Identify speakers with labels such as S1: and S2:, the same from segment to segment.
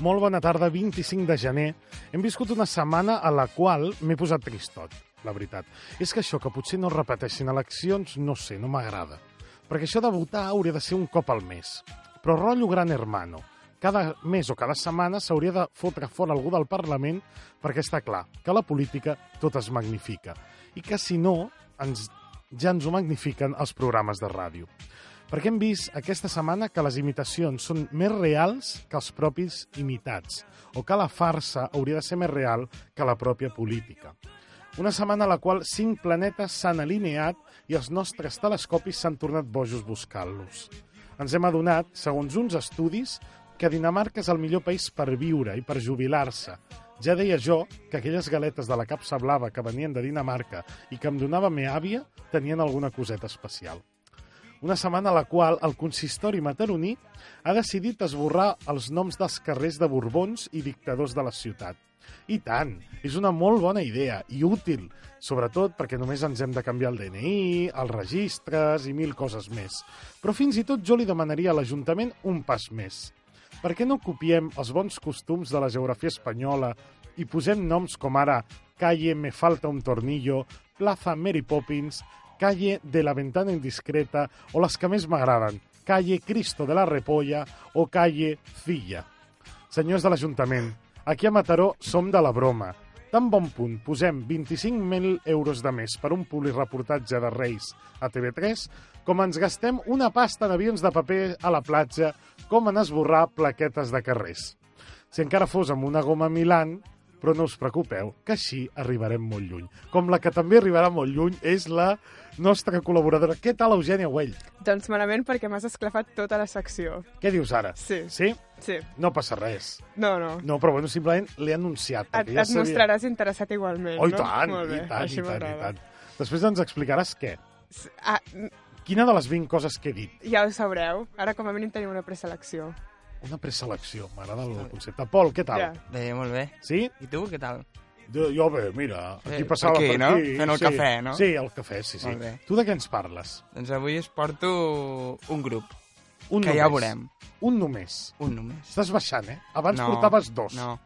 S1: Molt bona tarda, 25 de gener. Hem viscut una setmana a la qual m'he posat tristot, la veritat. És que això que potser no es repeteixin eleccions, no sé, no m'agrada. Perquè això de votar hauria de ser un cop al mes. Però rotllo gran hermano. Cada mes o cada setmana s'hauria de fotre fora algú del Parlament perquè està clar que la política tot es magnifica i que, si no, ens, ja ens ho magnifiquen els programes de ràdio perquè hem vist aquesta setmana que les imitacions són més reals que els propis imitats, o que la farsa hauria de ser més real que la pròpia política. Una setmana a la qual cinc planetes s'han alineat i els nostres telescopis s'han tornat bojos buscant-los. Ens hem adonat, segons uns estudis, que Dinamarca és el millor país per viure i per jubilar-se. Ja deia jo que aquelles galetes de la capsa blava que venien de Dinamarca i que em donava me àvia tenien alguna coseta especial una setmana a la qual el consistori mataroní ha decidit esborrar els noms dels carrers de Borbons i dictadors de la ciutat. I tant, és una molt bona idea i útil, sobretot perquè només ens hem de canviar el DNI, els registres i mil coses més. Però fins i tot jo li demanaria a l'Ajuntament un pas més. Per què no copiem els bons costums de la geografia espanyola i posem noms com ara Calle Me Falta un Tornillo, Plaza Mary Poppins, Calle de la Ventana Indiscreta o les que més m'agraden, Calle Cristo de la Repolla o Calle Filla. Senyors de l'Ajuntament, aquí a Mataró som de la broma. Tan bon punt posem 25.000 euros de més per un publireportatge de Reis a TV3, com ens gastem una pasta d'avions de paper a la platja, com en esborrar plaquetes de carrers. Si encara fos amb una goma Milan, però no us preocupeu, que així arribarem molt lluny. Com la que també arribarà molt lluny és la nostra col·laboradora. Què tal, Eugènia Güell?
S2: Doncs malament perquè m'has esclafat tota la secció.
S1: Què dius ara?
S2: Sí.
S1: Sí?
S2: Sí.
S1: No passa res.
S2: No, no.
S1: No, però bueno, simplement l'he anunciat.
S2: Et,
S1: perquè
S2: et mostraràs interessat igualment,
S1: Oh, i
S2: no?
S1: tant,
S2: Molt bé,
S1: i tant,
S2: així
S1: i tant, i
S2: m'agrada.
S1: tant. Després ens explicaràs què.
S2: S- Ah, n-
S1: Quina de les 20 coses que he dit?
S2: ja ho sabreu. Ara com a mínim tenim una preselecció.
S1: Una preselecció. M'agrada el concepte. Pol, què tal?
S2: Ja.
S3: Bé, molt bé.
S1: Sí?
S3: I tu, què tal?
S1: Jo, jo bé, mira, aquí
S3: Sí,
S1: passava
S3: aquí,
S1: per aquí.
S3: no? Fent el
S1: sí.
S3: cafè, no?
S1: Sí, el cafè, sí, sí.
S3: Molt bé.
S1: Tu de què ens parles?
S3: Doncs avui us porto un grup,
S1: Un
S3: que
S1: només.
S3: ja ho veurem.
S1: Un només.
S3: Un només.
S1: Estàs baixant, eh? Abans portaves dos. Oh.
S3: No,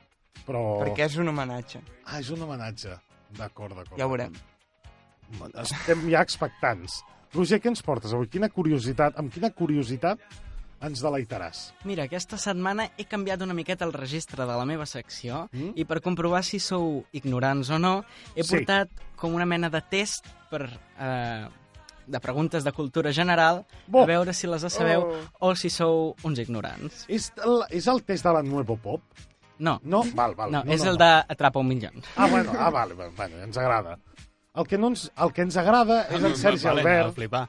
S1: Però...
S3: perquè és un homenatge.
S1: Ah, és un homenatge. D'acord, d'acord.
S3: Ja ho veurem.
S1: Estem ja expectants. Roger, què ens portes avui? Quina curiositat, amb quina curiositat ens deleitaràs?
S4: Mira, aquesta setmana he canviat una miqueta el registre de la meva secció
S1: Mm?
S4: i per comprovar si sou ignorants o no, he
S1: Sí.
S4: portat com una mena de test per, eh, de preguntes de cultura general
S1: Bo!
S4: a veure si les sabeu
S2: Oh.
S4: o si sou uns ignorants.
S1: És el, és el test de la Nuevo Pop?
S4: No, no,
S1: No? Val, val.
S4: no, és el
S1: no.
S4: de Atrapa un minyón.
S1: Ah, bueno, ah, vale, vale, vale, ens agrada. El que, no ens, el que ens agrada és el Sergi Albert,
S5: flipar.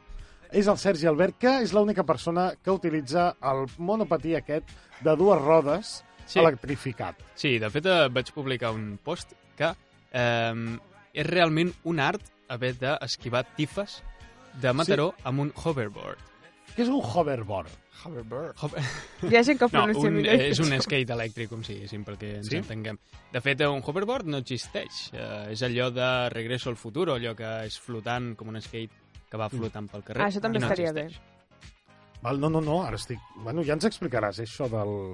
S1: és el Sergi Albert, que és l'única persona que utilitza el monopatí aquest de dues rodes
S5: Sí.
S1: electrificat.
S5: Sí, de fet eh, vaig publicar un post que eh, és realment un art haver d'esquivar tifes de Mataró sí. amb un hoverboard.
S1: Que és un hoverboard.
S3: Hoverboard.
S5: Hover...
S2: Hi ha gent que ho
S5: No,
S2: pronuncia
S5: un,
S2: millor.
S5: eh, és un skate elèctric, com si diguéssim, perquè ens
S1: Sí?
S5: sí? entenguem. De fet, eh, un hoverboard no existeix. Eh, és allò de Regreso al futur, allò que és flotant com un skate que
S1: Mm.
S5: va flotant pel carrer.
S2: Ah, això també
S5: i no
S2: estaria bé.
S5: existeix.
S1: Val, no, no, no, ara estic... Bueno, ja ens explicaràs, eh, això del,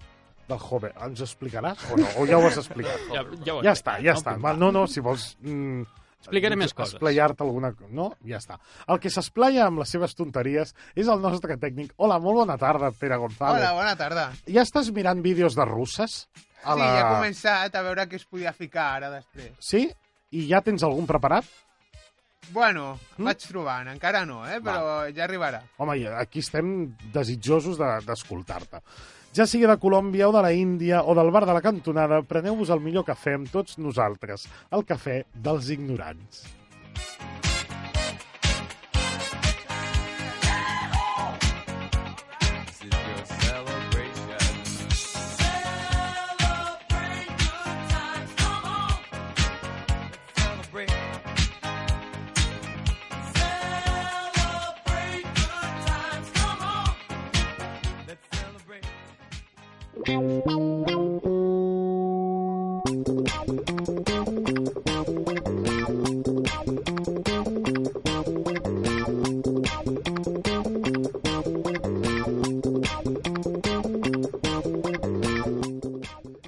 S1: del Hover. Ens ho explicaràs o no? O ja ho has explicat?
S5: Ja, ja, ho
S1: ja
S5: explico,
S1: està, ja
S5: eh, no?
S1: està. Val, no, no, si vols... Mm,
S5: Explicaré més coses.
S1: Esplayar-te alguna cosa. No? Ja està. El que s'esplaya amb les seves tonteries és el nostre tècnic. Hola, molt bona tarda, Pere González.
S6: Hola, bona tarda.
S1: Ja estàs mirant vídeos de russes? A
S6: Sí, ja he començat a veure què es podia ficar ara després.
S1: Sí? I ja tens algun preparat?
S6: Bueno,
S1: Mm?
S6: mm? vaig trobant, encara no, eh? però ja arribarà.
S1: Home, i aquí estem desitjosos de- d'escoltar-te. ja sigui de Colòmbia o de la Índia o del bar de la cantonada, preneu-vos el millor cafè amb tots nosaltres, el cafè dels ignorants.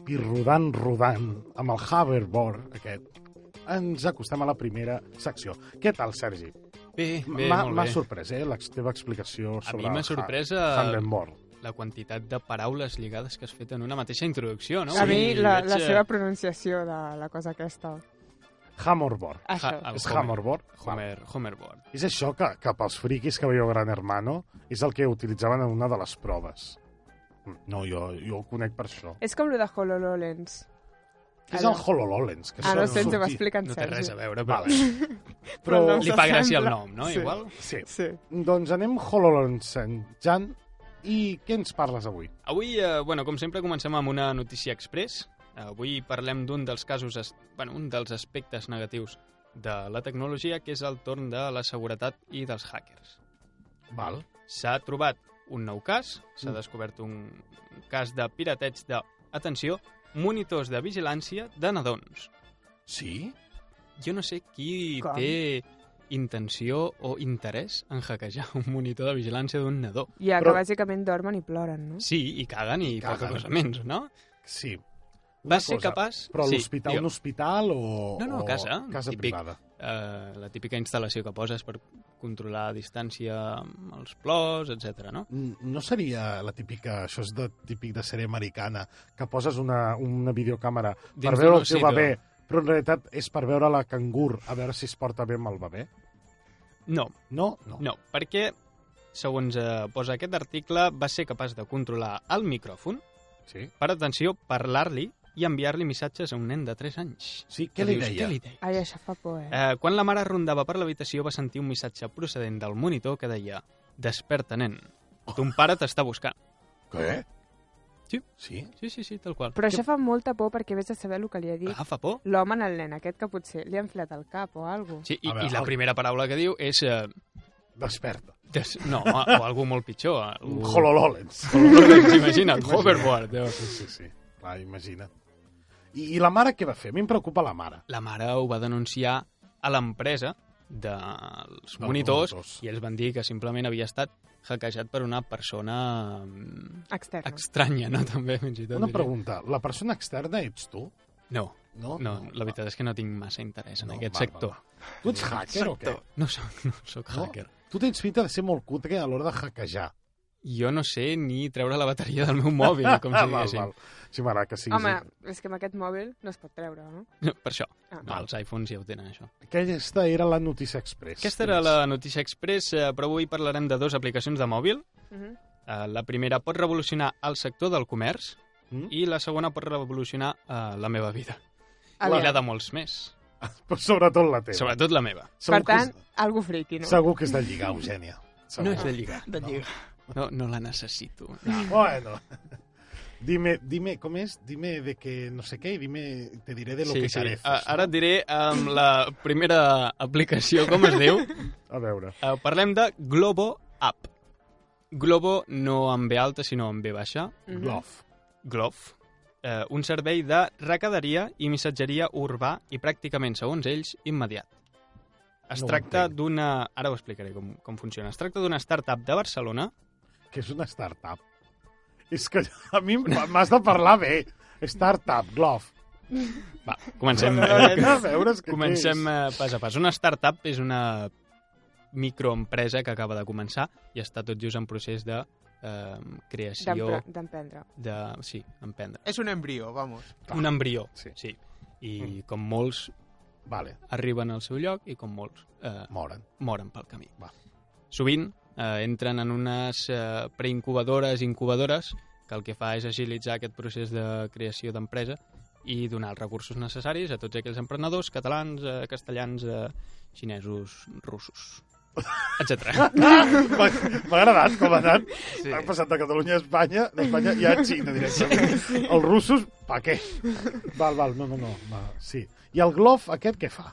S1: I rodant, rodant, amb el hoverboard aquest, ens acostem a la primera secció. Què tal, Sergi?
S5: Bé, bé,
S1: M'ha
S5: molt
S1: m'ha
S5: bé.
S1: sorprès, eh, la teva explicació
S5: A
S1: sobre
S5: mi m'ha
S1: el
S5: sorprès,
S1: ha-
S5: eh,
S1: Hoverboard.
S5: La quantitat de paraules lligades que has fet en una mateixa introducció, no?
S2: A mi, la,
S5: veig,
S2: la
S5: eh,
S2: seva pronunciació de la cosa aquesta.
S1: Hammerboard.
S2: Això.
S5: ha- el
S1: És
S5: Homer-
S1: Hammerboard?
S5: Homer, Homerboard.
S1: És això que, que pels friquis que veieu Gran Hermano és el que utilitzaven en una de les proves. No, jo, jo ho conec per això.
S2: És com lo de HoloLens.
S1: Què és el HoloLens? Que
S2: Ara
S1: sona
S2: no sé, ens ho va
S1: sortir?
S2: explicar en
S5: No té
S2: Sergi.
S5: res a veure, però
S1: Però
S2: Però
S5: li fa gràcia el
S2: s'assembla.
S5: nom, no?
S2: Sí.
S5: Igual.
S1: Sí,
S2: Sí.
S1: doncs anem HoloLens, en Jan. I què ens parles avui?
S5: Avui, eh, bueno, com sempre, comencem amb una notícia express. Avui parlem d'un dels casos, es- bueno, un dels aspectes negatius de la tecnologia, que és el torn de la seguretat i dels hackers.
S1: Val.
S5: S'ha trobat un nou cas, s'ha
S2: Mm.
S5: descobert un cas de pirateig de, atenció, monitors de vigilància de nadons.
S1: Sí?
S5: Jo no sé qui
S2: Com?
S5: té intenció o interès en hackejar un monitor de vigilància d'un nadó.
S2: Ja,
S1: Però-
S2: que bàsicament dormen i ploren, no?
S5: Sí, i caguen i,
S1: Mm. I
S5: poca
S1: caguen.
S5: cosa menys, no?
S1: Sí.
S5: Va
S1: Una
S5: ser
S1: cosa,
S5: capaç...
S1: Però a
S5: sí,
S1: l'hospital,
S5: digue.
S1: un hospital o...
S5: No, no,
S1: o
S5: casa,
S1: Casa
S5: típic.
S1: privada.
S5: eh, la típica instal·lació que poses per controlar a distància amb els plors, etc. no?
S1: Mm, No seria la típica... Això és de, típic de sèrie americana, que poses una, una videocàmera per
S5: Dins
S1: veure
S5: d'un
S1: el teu
S5: ossito.
S1: bebè, però en realitat és per veure la cangur, a veure si es porta bé amb el bebè.
S5: No,
S1: No? No.
S5: no, perquè, segons eh, posa aquest article, va ser capaç de controlar el micròfon
S1: Sí?
S5: per, atenció, parlar-li i enviar-li missatges a un nen de 3 anys.
S1: Sí, què li
S5: dius,
S1: deia?
S5: Què li deia?
S2: Ai, això fa por, eh?
S5: Eh, quan la mare rondava per l'habitació va sentir un missatge procedent del monitor que deia «Desperta, nen, ton pare t'està buscant».
S1: Què?
S5: Sí.
S1: Sí?
S5: Sí, sí, sí, tal qual.
S2: Però això fa molta por perquè vés a saber el que li ha dit
S5: Agafa por.
S2: l'home al nen aquest que potser li ha inflat el cap o alguna cosa.
S5: Sí, i,
S1: A veure,
S5: i la
S1: el-
S5: primera paraula que diu és... Eh,
S1: Desperta.
S5: Des... No, o, o algú molt pitjor. eh, Algú...
S1: Uh. Holololens.
S5: Hololens, imagina't, hoverboard. eh?
S1: Sí, sí, sí. Clar, imagina't. I, I la mare què va fer? A mi em preocupa la mare.
S5: La mare ho va denunciar a l'empresa dels monitors
S1: monitors.
S5: i ells van dir que simplement havia estat hackejat per una persona mm,
S2: Externa.
S5: estranya, no? També, fins i tot.
S1: Una
S5: diria.
S1: pregunta. La persona externa ets tu?
S5: No,
S1: No?
S5: no, la veritat és que no tinc massa interès en
S1: No,
S5: aquest
S1: va, va,
S5: sector.
S1: Va. Ah, Tu ets hacker o què?
S5: No soc, no soc
S1: No?
S5: hacker.
S1: Tu tens pinta de ser molt cutre a l'hora de hackejar.
S5: Jo no sé ni treure la bateria del meu mòbil, com si diguéssim.
S1: Ah, Sí, m'agrada que siguis...
S2: Home, és que amb aquest mòbil no es pot treure, no?
S5: No, per això.
S2: Ah.
S5: No, els iPhones ja ho tenen, això.
S1: Aquesta era la notícia express.
S5: Aquesta era la notícia express, eh, però avui parlarem de dues aplicacions de mòbil.
S2: Mhm.
S5: Eh, La primera pot revolucionar el sector del comerç
S1: Mm.
S5: i la segona pot revolucionar eh, la meva vida. I la
S2: Aviam.
S5: de molts més.
S1: Però sobretot la teva.
S5: Sobretot la meva.
S2: Per
S1: Segur que
S2: tant,
S1: és-
S2: algú friqui, no?
S1: Segur que és de lligar, Eugènia. Segur. Ah,
S5: No és de lligar.
S3: De lliga.
S5: No, no la necessito.
S1: Bueno. Dime, dime, ¿cómo es? Dime de que no sé qué y dime, te diré de lo que
S5: Eh,
S1: careces.
S5: Ara et diré amb la primera aplicació, com es diu.
S1: A veure.
S5: Eh, Parlem de Globo App. Globo no amb B alta, sinó amb B baixa.
S2: Mhm.
S1: Love.
S5: Glove, eh, un servei de recaderia i missatgeria urbà i pràcticament, segons ells, immediat. Es
S1: No ho
S5: tracta
S1: entenc.
S5: d'una... Ara ho explicaré com, com funciona. Es tracta d'una startup de Barcelona.
S1: Que és una startup. És que a mi em- m'has de parlar bé. Startup, Glove.
S5: Eh, Va, comencem,
S1: A veure, és que què és?
S5: comencem eh, pas a pas. Una startup és una microempresa que acaba de començar i està tot just en procés de eh, creació
S2: D'empre- D'emprendre.
S5: de... Sí, emprendre.
S6: És un embrió, vamos.
S1: Clar.
S5: Un embrió,
S1: Sí.
S5: sí. I com molts
S1: Vale,
S5: arriben al seu lloc i, com molts, eh,
S1: moren.
S5: moren pel camí.
S1: Va.
S5: Sovint eh, entren en unes eh, preincubadores i incubadores que el que fa és agilitzar aquest procés de creació d'empresa i donar els recursos necessaris a tots aquells emprenedors catalans, eh, castellans, eh, xinesos, russos, etc.
S1: Ah! M'ha m'ha agradat com ha anat.
S3: Sí.
S1: Ha passat de Catalunya a Espanya, d'Espanya i a Xina directament. Els russos, pa què? Val, val, no, no, no. Va, sí. I el Glof aquest què fa?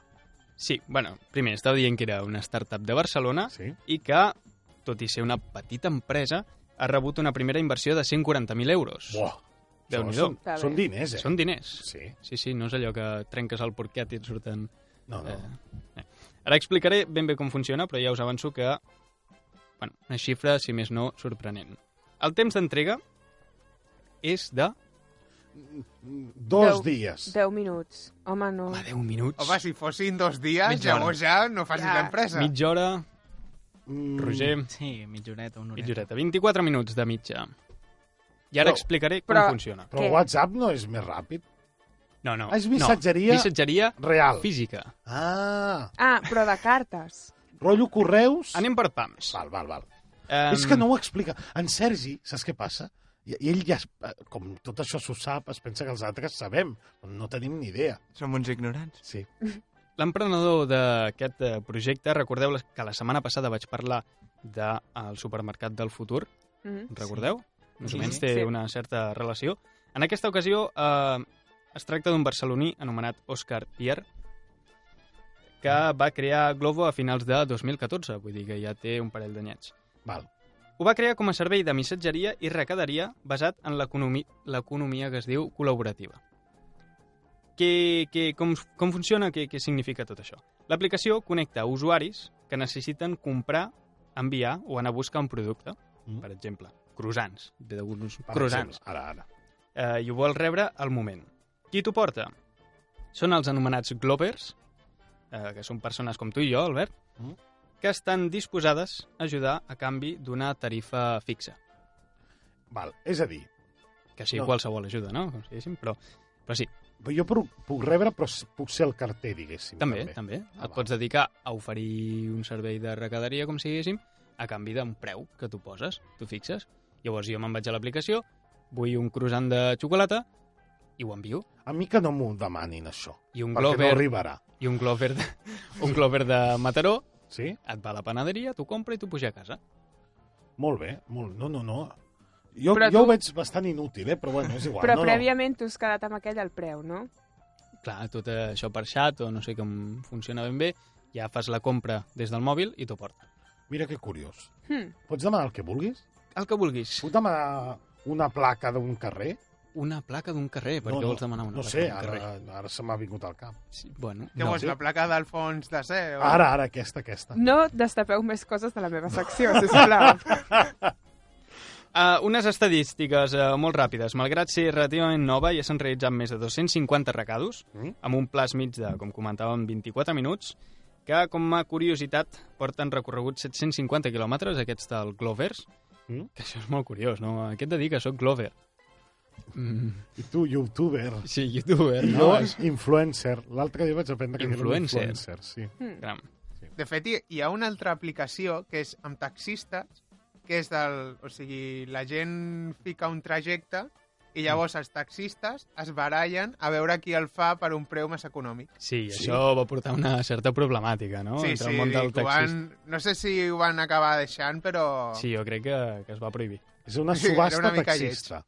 S5: Sí, bueno, primer estava dient que era una startup de Barcelona
S1: Sí.
S5: i que, tot i ser una petita empresa, ha rebut una primera inversió de 140.000 euros.
S1: Buah.
S5: Déu-n'hi-do.
S1: Són,
S2: Està bé.
S1: són diners, eh?
S5: Són diners.
S1: Sí.
S5: Sí, sí, no és allò que trenques el porquet i et surten...
S1: No, no.
S5: Eh, eh. Ara explicaré ben bé com funciona, però ja us avanço que... Bueno, una xifra, si més no, sorprenent. El temps d'entrega és de...
S1: Dos
S2: Deu.
S1: dies.
S2: 10 minuts. Home, no.
S5: Home, 10 minuts.
S6: Home, si fossin dos dies,
S5: Mitja hora.
S6: llavors ja no facis
S2: Ja.
S6: l'empresa.
S5: Mitja hora,
S1: Mm,
S5: Roger,
S4: Sí, mitjoreta, una horeta.
S5: mitja horeta. 24 minuts de mitja. I ara
S1: Però-
S5: explicaré com
S2: però-
S5: funciona.
S1: Però
S2: Què?
S1: WhatsApp no és més ràpid.
S5: No, no.
S1: Ah, és
S5: no.
S1: missatgeria-
S5: Missatgeria
S1: Real.
S5: física.
S1: Ah,
S2: Ah, però de cartes.
S1: rotllo correus...
S5: Anem per pams.
S1: Val, val, val.
S5: Um,
S1: És que no ho explica. En Sergi, saps què passa? I i ell ja, es- eh, com tot això s'ho sap, es pensa que els altres sabem. però No tenim ni idea.
S3: Som uns ignorants.
S1: Sí.
S5: L'emprenedor d'aquest eh, projecte, recordeu que la setmana passada vaig parlar del de, supermercat del futur,
S2: Mm.
S5: recordeu? Més
S4: Sí,
S5: o menys
S4: sí.
S5: té
S2: Sí.
S5: una certa relació. En aquesta ocasió eh, es tracta d'un barceloní anomenat Òscar Pierre, que va crear Glovo a finals de 2014, vull dir que ja té un parell d'anyets.
S1: Val.
S5: Ho va crear com a servei de missatgeria i recaderia basat en l'economi- l'economia que es diu col·laborativa. Què, què, com, com funciona? Què, què significa tot això? L'aplicació connecta usuaris que necessiten comprar, enviar o anar a buscar un producte,
S1: Mm.
S5: per exemple, croissants, ve d'alguns
S1: Per
S5: croissants,
S1: exemple, Ara, ara.
S5: eh, i ho vol rebre al moment. Qui t'ho porta? Són els anomenats globers, eh, que són persones com tu i jo, Albert,
S1: Mm.
S5: que estan disposades a ajudar a canvi d'una tarifa fixa.
S1: Val. És a dir,
S5: Que sí,
S1: No. Mm,
S5: no. qualsevol ajuda, no? Com si diguéssim, però, però sí,
S1: jo puc, puc rebre, però s- puc ser el carter, diguéssim.
S5: també,
S1: també.
S5: també.
S1: Ah,
S5: Et
S1: va.
S5: pots dedicar a oferir un servei de recaderia, com si diguéssim, a canvi d'un preu que tu poses, tu fixes. Llavors jo me'n vaig a l'aplicació, vull un croissant de xocolata i ho envio.
S1: A mi que no m'ho demanin, això.
S5: I un
S1: perquè no
S5: glover,
S1: arribarà.
S5: i un glover, de, un glover de Mataró
S1: Sí?
S5: et va a la panaderia, t'ho compra i t'ho puja a casa.
S1: Molt bé. Molt... No, no, no. Jo,
S2: Però
S1: jo
S2: tu-
S1: ho veig bastant inútil, eh? però bueno, és igual.
S2: Però
S1: no,
S2: prèviament tu has quedat amb aquell al preu, no?
S5: Clar, tot eh, això per xat o no sé com funciona ben bé, ja fas la compra des del mòbil i t'ho porta.
S1: No. Mira que curiós.
S2: Hm.
S1: Pots demanar el que vulguis?
S5: El que vulguis.
S1: Puc demanar una placa d'un carrer?
S5: Una placa d'un carrer, per
S1: No,
S5: què
S1: no,
S5: vols demanar una
S1: no
S5: placa
S1: sé,
S5: d'un carrer?
S1: ara, ara se m'ha vingut al cap.
S5: Sí, bueno,
S6: Que
S5: no.
S6: vols, la placa del fons de ser? o-
S1: Ara, ara, aquesta, aquesta.
S2: No destapeu més coses de la meva secció, sisplau.
S5: Uh, unes estadístiques uh, molt ràpides. Malgrat ser relativament nova, ja s'han realitzat més de 250 recados,
S1: Mm.
S5: amb un plaç mig de, com comentàvem, 24 minuts, que, com a curiositat, porten recorregut 750 quilòmetres, aquests del Glovers,
S1: Mm.
S5: que això és molt curiós, no? Què et dedica? Soc Glover. Mm,
S1: I tu, youtuber.
S5: sí, youtuber,
S1: I
S5: no?
S1: jo, influencer. L'altre dia vaig aprendre que era un
S5: Influencer.
S1: influencer sí.
S2: Hm.
S5: Gram.
S6: De fet, hi, hi ha una altra aplicació que és amb taxistes, que és del... O sigui, la gent fica un trajecte
S5: Mm.
S6: i llavors els taxistes es barallen a veure qui el fa per un preu més econòmic.
S5: Sí,
S1: Sí.
S5: això va portar una certa problemàtica, no?
S6: sí,
S5: Oh, Entre
S6: sí,
S5: el món del
S6: dic, ho
S5: taxista.
S6: van, no sé si ho van acabar deixant, però...
S5: Sí, jo crec que, que es va prohibir.
S1: És una
S6: Sí, era
S1: subhasta
S6: una mica
S1: taxista.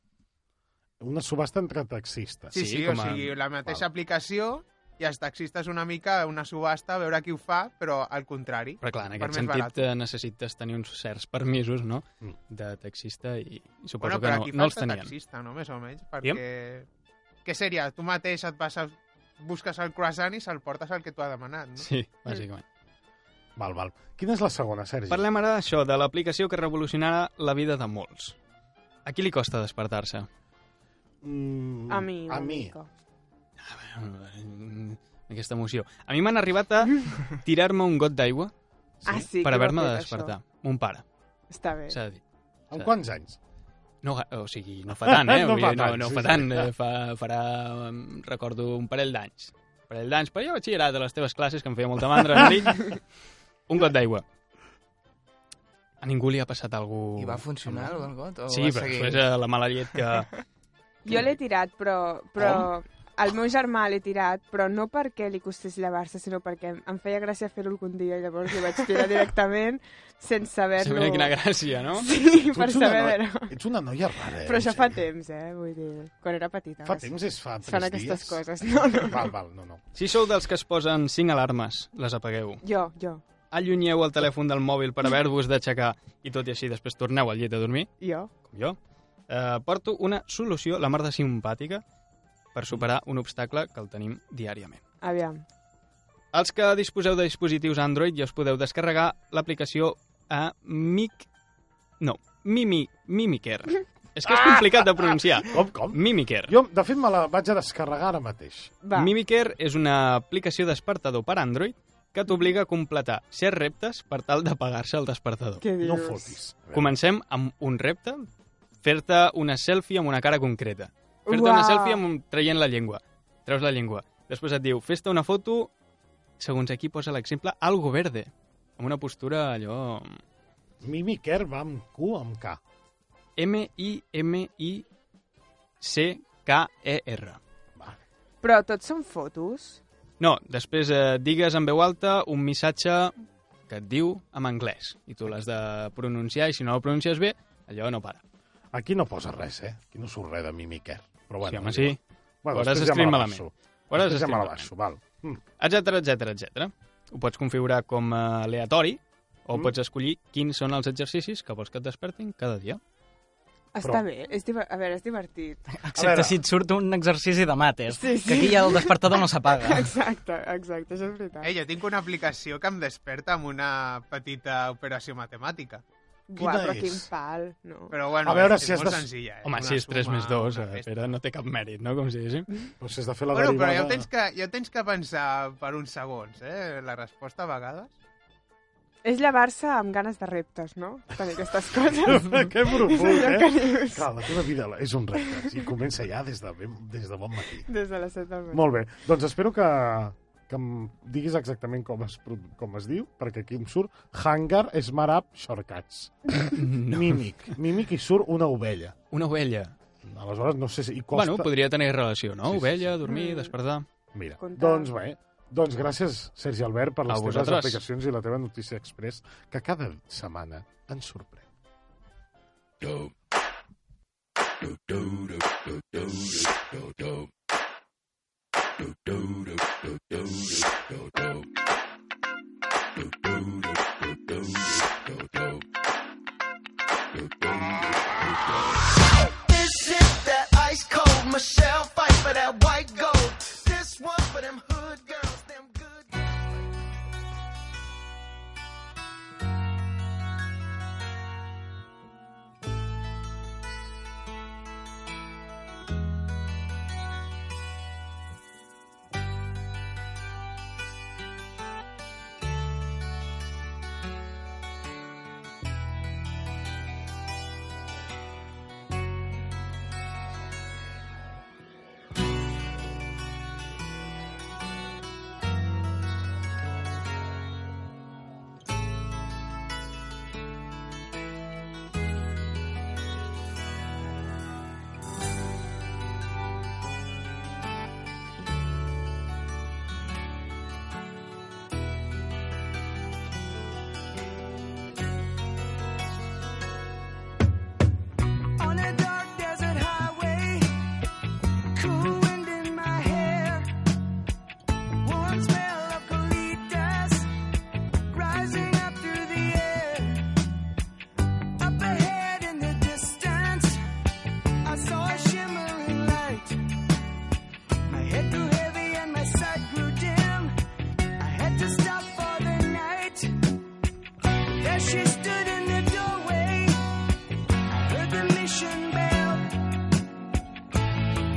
S1: Una subhasta entre taxistes.
S6: Sí,
S5: Sí,
S6: sí, sí o
S5: com a-
S6: sigui, la mateixa
S1: Val.
S6: aplicació i els taxistes una mica una subhasta, a veure qui ho fa, però al contrari.
S5: Però clar, en
S6: Per
S5: aquest
S6: més
S5: sentit
S6: barat.
S5: eh, necessites tenir uns certs permisos, no?,
S1: Mm.
S5: de taxista i, i
S6: Bueno, però
S5: suposo que
S6: aquí
S5: no, no els
S6: falta
S5: tenien.
S6: taxista, no? Més o menys, perquè... Què seria? Tu mateix et vas a... busques el croissant i se'l portes al que t'ho ha demanat, no?
S5: Sí, bàsicament.
S1: Val, val. Quina és la segona, Sergi?
S5: Parlem ara d'això, de l'aplicació que revolucionarà la vida de molts. A qui li costa despertar-se?
S1: Mm,
S2: A mi,
S1: A
S2: una
S1: mi.
S2: mica.
S5: Mm, Aquesta emoció. A mi m'han arribat a tirar-me un got d'aigua
S2: Ah, sí, que ho
S5: per
S2: ha
S5: haver-me de
S2: fet,
S5: despertar. Mon pare,
S2: Això. Està bé.
S5: s'ha de dir.
S1: Amb quants anys?
S5: No, ga- o sigui, no fa tant, eh?
S1: No
S5: Vull
S1: fa
S5: dir, no,
S1: tant,
S5: no
S1: sí,
S5: fa
S1: sí.
S5: tant, eh? fa, farà, em recordo, un parell d'anys. parell d'anys, però jo batxillerat a les teves classes, que em feia molta mandra, Enric, un got d'aigua. A ningú li ha passat algú...
S3: I va funcionar el got? O
S5: Sí,
S3: va
S5: però
S3: seguir?
S5: després eh, la mala llet que...
S2: Jo l'he tirat, però... però el meu germà l'he tirat, però no perquè li costés llevar-se, sinó perquè em- em feia gràcia fer-ho algun dia i llavors li vaig tirar directament sense
S5: Se
S2: saber-lo.
S5: mira quina gràcia, no?
S2: Sí, per
S1: ets una
S2: saber...
S1: noia-
S2: No...
S1: Ets una noia rara, eh?
S2: Però això
S1: en
S2: fa
S1: sèrio.
S2: temps, eh? Vull dir, quan era petita.
S1: Fa
S2: es-
S1: temps és fa
S2: es
S1: tres
S2: fan
S1: dies.
S2: aquestes coses. No, no, no.
S1: Val, val, no, no.
S5: Si sou dels que es posen cinc alarmes, les apagueu.
S2: Jo, jo,
S5: Allunyeu el telèfon del mòbil per haver-vos d'aixecar i tot i així després torneu al llit a dormir,
S2: jo.
S5: com jo. Eh, porto una solució, la mar de simpàtica, per superar un obstacle que el tenim diàriament.
S2: Aviam.
S5: Els que disposeu de dispositius Android ja us podeu descarregar l'aplicació a Mic... No, Mimi... Mimiker. És que és complicat de pronunciar.
S1: Com, com?
S5: Mimiker.
S1: Jo, de fet, me la vaig a descarregar ara mateix.
S2: Va.
S5: Mimiker és una aplicació despertador per Android que t'obliga a completar certs reptes per tal d'apagar-se el despertador.
S2: Què dius?
S1: No fotis. A veure.
S5: Comencem amb un repte, fer-te una selfie amb una cara concreta. Fer-te
S2: Uau.
S5: una selfie amb un... traient la llengua. Treus la llengua. Després et diu, fes-te una foto, segons aquí posa l'exemple, algo verde. Amb una postura allò...
S1: Mimi Kerr va amb Q amb K.
S5: M-I-M-I-C-K-E-R.
S1: Va.
S2: Però tots són fotos?
S5: No, després eh, digues en veu alta un missatge que et diu en anglès i tu l'has de pronunciar i si no el pronuncies bé, allò no para.
S1: Aquí no posa res, eh? Aquí no surt res de Mimi Kerr. Però bueno,
S5: sí, home, sí.
S1: Bueno,
S5: Ho hauràs
S1: després ja me la
S5: escrit
S1: baixo.
S5: malament. Ho hauràs
S1: Després ja
S5: escrit
S1: me la
S5: malament.
S1: baixo, val. Mm.
S5: etc etc etc. Ho pots configurar com a aleatori o
S1: Mm.
S5: pots escollir quins són els exercicis que vols que et despertin cada dia.
S2: Està
S1: Però- Ah.
S2: bé. És diver... A veure, és divertit.
S4: Excepte
S1: veure.
S4: si et surt un exercici de mates,
S2: Sí, sí.
S4: que aquí ja el despertador no s'apaga.
S2: Exacte, exacte, això és veritat.
S6: Eh, jo tinc una aplicació que em desperta amb una petita operació matemàtica.
S2: Buah,
S1: Quina
S2: però quin
S1: és?
S2: pal, no?
S6: Però bueno,
S1: A veure
S6: és,
S1: si
S6: és
S1: has
S6: molt
S1: de-
S6: senzilla. Eh?
S5: Home,
S6: Una
S5: si és 3
S6: suma,
S5: més 2,
S6: una
S5: eh,
S6: festa.
S5: Pere, no té cap mèrit, no? Com si diguéssim.
S1: Però si has de fer la
S6: Bueno, però
S1: derivada...
S6: ja ho, tens que, ja ho tens que pensar per uns segons, eh? La resposta a vegades.
S2: És llevar-se amb ganes de reptes, no? Tenir aquestes coses.
S1: que
S2: és
S1: profund,
S2: allò
S1: eh?
S2: que dius
S1: Clar, la teva vida és un repte. I comença ja des de, ben, des de bon matí.
S2: des de les set del matí.
S1: Molt bé. Doncs espero que, que em diguis exactament com es, pro- com es diu, perquè aquí em surt Hangar Smart Up Shortcuts.
S5: No.
S1: Mímic. Mímic i surt una ovella.
S5: Una ovella.
S1: Aleshores, no sé si... I costa...
S5: Bueno, podria tenir relació,
S1: Sí,
S5: no?
S1: sí,
S5: Ovella, dormir,
S2: Mm.
S5: despertar...
S1: Mira,
S2: Compte.
S1: doncs bé. Doncs gràcies, Sergi Albert, per
S5: A
S1: les teves
S5: vosaltres.
S1: aplicacions i la teva notícia express, que cada setmana ens sorprèn.
S7: This is that ice cold Michelle fight for that white gold. This one for them hood girls, them good. On a dark desert highway, cool wind in my hair, warm smell of colitas rising up through the air. Up ahead in the distance, I saw a shimmering light. My head grew heavy and my sight grew dim. I had to stop for the night. There she stood in the doorway heard the mission bell.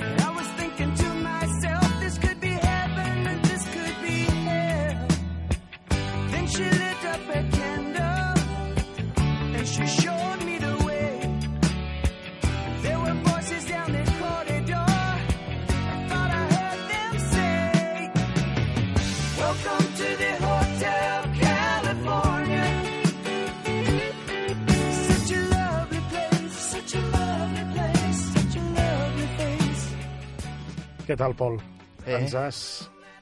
S7: And I was thinking to myself, this could be heaven and this could be hell. Then she lit up a candle and she showed me the way. There were voices down the corridor. I thought I heard them say,
S1: Què tal, Pol?
S3: Bé.
S1: Ens has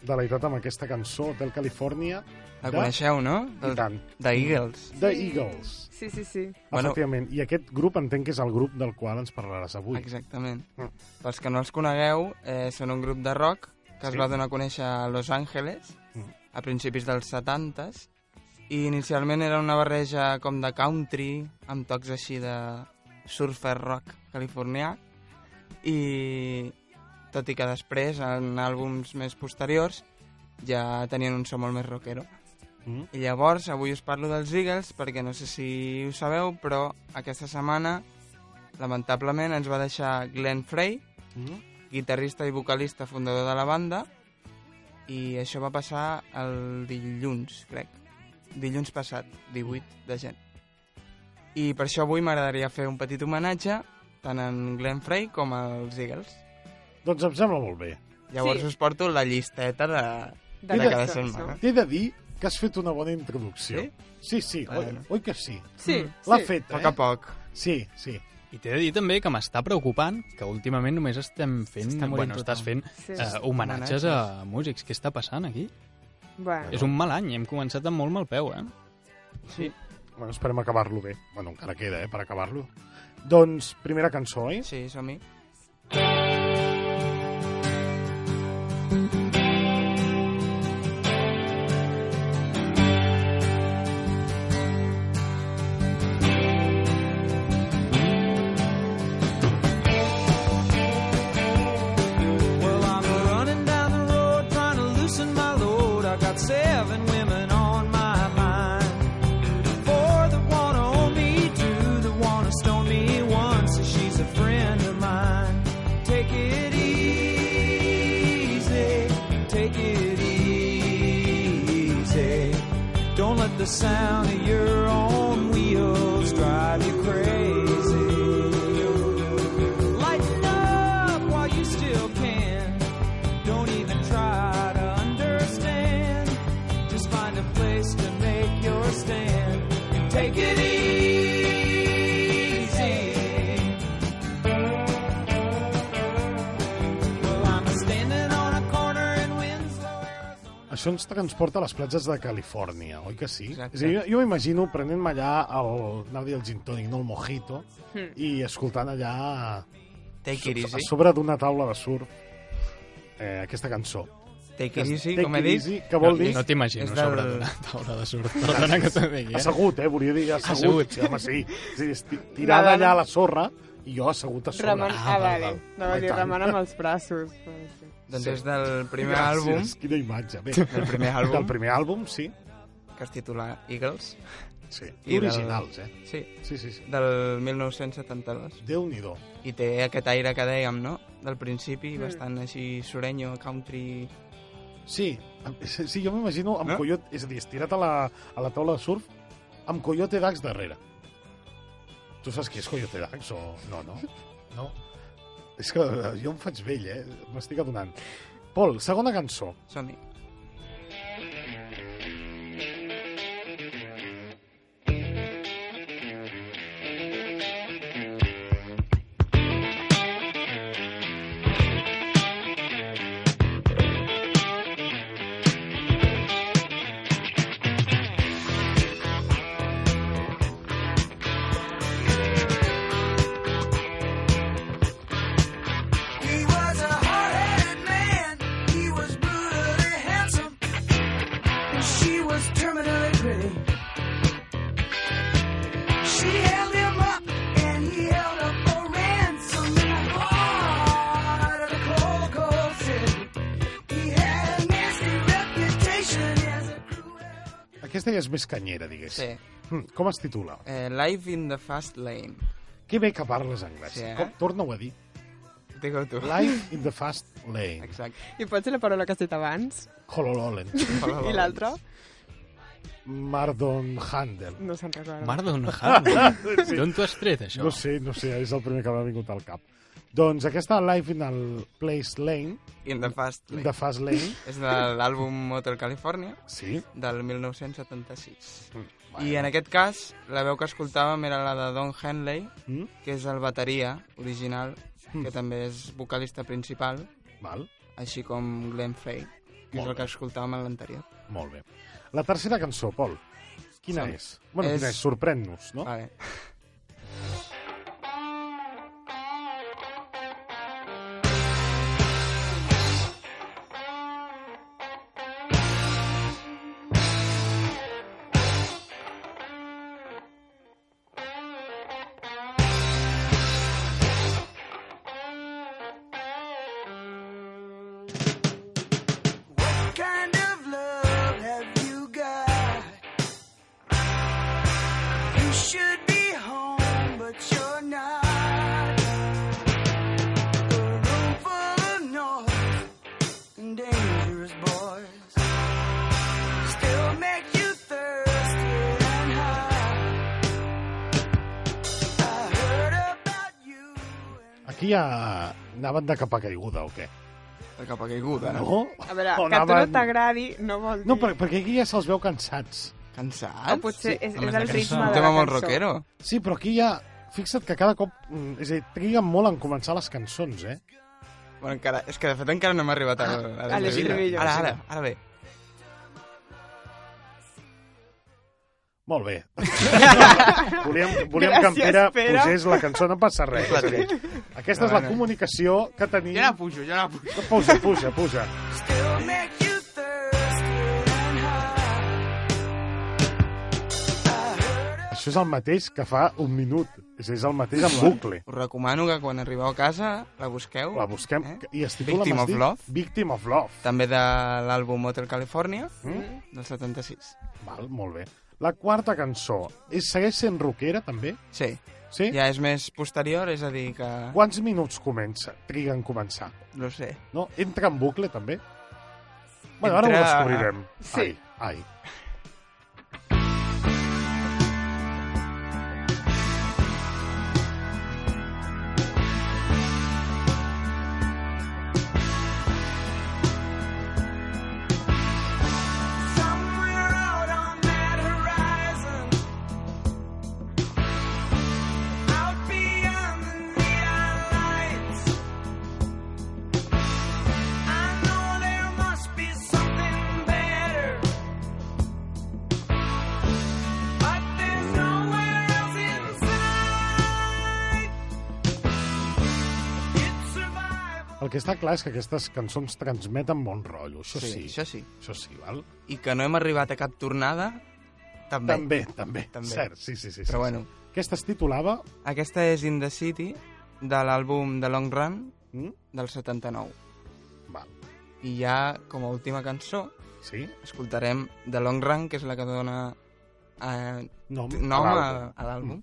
S1: deleitat amb aquesta cançó, Hotel California,
S3: La
S1: de-
S3: coneixeu, no?
S1: i tant,
S3: de Eagles.
S1: The Eagles.
S2: Sí, sí, sí.
S3: Bueno.
S1: Efectivament. I aquest grup entenc que és el grup del qual ens parlaràs avui.
S3: Exactament.
S1: Mm.
S3: Pels que no els conegueu, eh, són un grup de rock que es
S1: Sí.
S3: va donar a conèixer a Los Angeles
S1: Mm.
S3: a principis dels 70s i inicialment era una barreja com de country amb tocs així de surfer rock californià i tot i que després en àlbums més posteriors ja tenien un so molt més rockero.
S1: Mm.
S3: I llavors, avui us parlo dels Eagles, perquè no sé si ho sabeu, però aquesta setmana, lamentablement, ens va deixar Glenn Frey,
S1: Mm?
S3: guitarrista i vocalista fundador de la banda, i això va passar el dilluns, crec. Dilluns passat, 18 de gent. I per això avui m'agradaria fer un petit homenatge tant en Glenn Frey com als Eagles.
S1: Doncs em sembla molt bé.
S3: Llavors
S2: Sí.
S3: us porto la llisteta de,
S2: De
S3: de
S1: la
S3: cada
S2: cançó.
S3: setmana.
S1: T'he de dir que has fet una bona introducció. Sí, sí, sí
S3: Bueno.
S1: oi, oi que sí?
S2: Sí,
S1: L'ha
S2: sí.
S1: fet,
S3: A poc
S1: eh?
S3: a poc.
S1: Sí, sí.
S5: I t'he de dir també que m'està preocupant que últimament només estem fent...
S3: S'està morint
S5: Bueno,
S3: tothom.
S5: estàs fent
S2: Sí.
S5: eh, homenatges a músics. Què està passant aquí?
S2: Bueno.
S5: És un mal any, hem començat amb molt mal peu, eh?
S1: Bueno, esperem acabar-lo bé. Bueno, encara queda, eh, per acabar-lo. Doncs, primera cançó, oi?
S3: Sí, som-hi.
S7: Well, I'm running down the road trying to loosen my load. I got seven women on my mind. Four that wanna own me, two that wanna stone me, one says she's a friend of mine. Take it easy, take it easy. Don't let the sound of your own wheels drive you crazy. Lighten up while you still can. Don't even try to understand. Just find a place to make your stand and take it easy. Well, I'm standing on a corner in Winslow.
S1: Això ens transporta a les platges de Califòrnia, oi que sí?
S3: Exacte.
S1: És a dir, jo jo m'imagino prenent-me allà el, anava a dir el gin tònic, no el mojito,
S2: Mm.
S1: i escoltant allà
S3: Take it
S1: a
S3: easy.
S1: sobre d'una taula de surf eh, aquesta cançó.
S3: Take
S1: Que
S3: it
S1: es-
S3: easy,
S1: Take
S3: com he
S1: It
S3: dit.
S1: Easy, que vol
S5: no,
S1: dir...
S5: No t'imagino
S3: és del-
S5: sobre d'una taula de sort. Perdona que t'ho digui, eh?
S1: Assegut, eh? Volia dir assegut.
S5: Assegut.
S1: Sí, home, sí. sí esti- tirada
S2: Remant.
S1: allà a la sorra i jo assegut a sobre.
S2: Remen... Ah,
S5: Ah, val,
S2: vale.
S5: val.
S2: Anava a dir,
S1: Ai, tant.
S2: remen amb els braços. Bueno, sí.
S3: Doncs
S1: Sí.
S3: és del primer
S1: Gràcies,
S3: àlbum,
S1: Quina imatge. Bé,
S3: del primer
S1: del
S3: àlbum,
S1: primer àlbum, sí.
S3: que es titula Eagles,
S1: sí. I
S3: I del-
S1: originals, eh?
S3: sí,
S1: Sí, sí, sí.
S3: del 1972.
S1: Déu-n'hi-do.
S3: I té aquest aire que dèiem, no?, del principi,
S2: Mm.
S3: bastant així sureño, country...
S1: Sí, amb- sí, jo m'imagino amb no?
S3: No?
S1: Coyote, és a dir, estirat a la, a la taula de surf, amb Coyote Dax darrere. Tu saps qui és Coyote Dax o... No, no. No. És que eh, jo em faig vell, eh? M'estic adonant. Pol, segona cançó.
S3: Som-hi.
S7: He was a hard-headed man. He was brutally handsome, and she was terminally pretty. She held him up, and he held up for ransom in the heart of the cold, cold city. He had a nasty reputation as a cruel.
S1: Aquesta ja és més canyera, digués.
S3: Sí.
S1: Hm, com es titula?
S3: Eh, Life in the Fast Lane.
S1: Que bé que parles anglès.
S3: Sí,
S1: Sí,
S3: eh?
S1: eh? Com, torna-ho a dir.
S3: Digue-ho tu.
S1: Life in the fast lane.
S3: Exacte.
S2: I pot ser la paraula que has dit abans?
S1: Holololen.
S2: I l'altra?
S1: Mardon Handel.
S2: No se'n recorda.
S5: Mardon Harwood. D'on t'ho has tret, això?
S1: No sé, no sé, és el primer que m'ha vingut al cap. Doncs aquesta Life in the Place Lane,
S3: In the Fast Lane.
S1: de Fast Lane,
S3: És de l'àlbum Motor California,
S1: sí,
S3: del 1976.
S1: Bueno.
S3: I en aquest cas, la veu que escoltàvem era la de Don Henley,
S1: Mm?
S3: que és el bateria original,
S1: Mm.
S3: que també és vocalista principal,
S1: Val?
S3: així com Glenn Frey, que és
S1: Molt
S3: el que
S1: bé.
S3: escoltàvem en l'anterior.
S1: Molt bé. La tercera cançó, Pol. Quina
S3: Sí.
S1: és? Bueno,
S3: És- Ah.
S1: quina és? Sorprèn-nos, no?
S3: Vale.
S7: What kind of love have you got? You should be home, but you're not. A room full of noise and dangerous boys still make you thirsty and high. I heard about you. and
S1: Aquí ja anaven de capa caiguda, o què?
S3: De capa caiguda, no?
S1: No?
S2: A veure,
S1: O
S2: que a tu no
S1: anaven-
S2: t'agradi Oh, no vol dir...
S1: No, per, perquè aquí ja se'ls veu cansats.
S3: Cansats?
S2: O potser és, és
S5: Només la
S2: pues, eh, el
S5: cançó.
S2: ritme de
S3: Un
S2: la
S3: tema
S2: cançó.
S3: molt rockero.
S1: Sí, però aquí ja... Fixa't que cada cop... mm, És a dir, triguen molt en començar les cançons, eh?
S3: Bueno, encara, és que de fet encara no hem arribat a, a,
S2: a l'estribillo.
S3: Ara, ara, ara bé.
S1: Molt bé. volíem volíem que en
S2: Gràcies,
S1: Pere
S2: Pere.
S1: posés la cançó, no passa res.
S3: La trec.
S1: Aquesta és la comunicació que tenim...
S6: Jo la pujo, jo la pujo.
S1: Puja, puja, puja.
S7: Still make you thirsty and high. I heard
S1: Això és el mateix que fa un minut. És, és el mateix en bucle.
S3: Us recomano que quan arribeu a casa la busqueu.
S1: La busquem
S3: Eh?
S1: i es titula...
S3: Victim
S1: m'has
S3: of
S1: dit?
S3: Love.
S1: Victim of Love.
S3: També de l'àlbum Hotel California,
S1: Mm?
S3: del 76.
S1: Val, molt bé. La quarta cançó. És, segueix sent rockera, també?
S3: Sí,
S1: Sí?
S3: ja és més posterior, és a dir que...
S1: Quants minuts comença? Triga en començar?
S3: No sé.
S1: No? Entra en bucle, també? Bueno, ara ho
S3: Entra-
S1: descobrirem.
S2: Sí.
S1: Ai, ai.
S7: somewhere out on that horizon, out beyond the neon lights. I know there must be something better, but there's nowhere else inside. It's survival.
S1: El que està clar és que aquestes cançons transmeten bon rotllo. Això sí.
S3: Això sí.
S1: Això sí, val?
S3: I que no hem arribat a cap tornada, també.
S1: També, també.
S3: També.
S1: Cert, sí, sí, sí. sí,
S3: Però bueno,
S1: sí. Aquesta es titulava...
S3: aquesta és In the City, de l'àlbum The Long Run,
S1: Mm?
S3: del 79.
S1: Val.
S3: I ja, com a última cançó,
S1: Sí?
S3: escoltarem The Long Run, que és la que dona eh,
S1: Nom,
S3: nom a
S1: l'àlbum. Mm.
S3: a l'àlbum.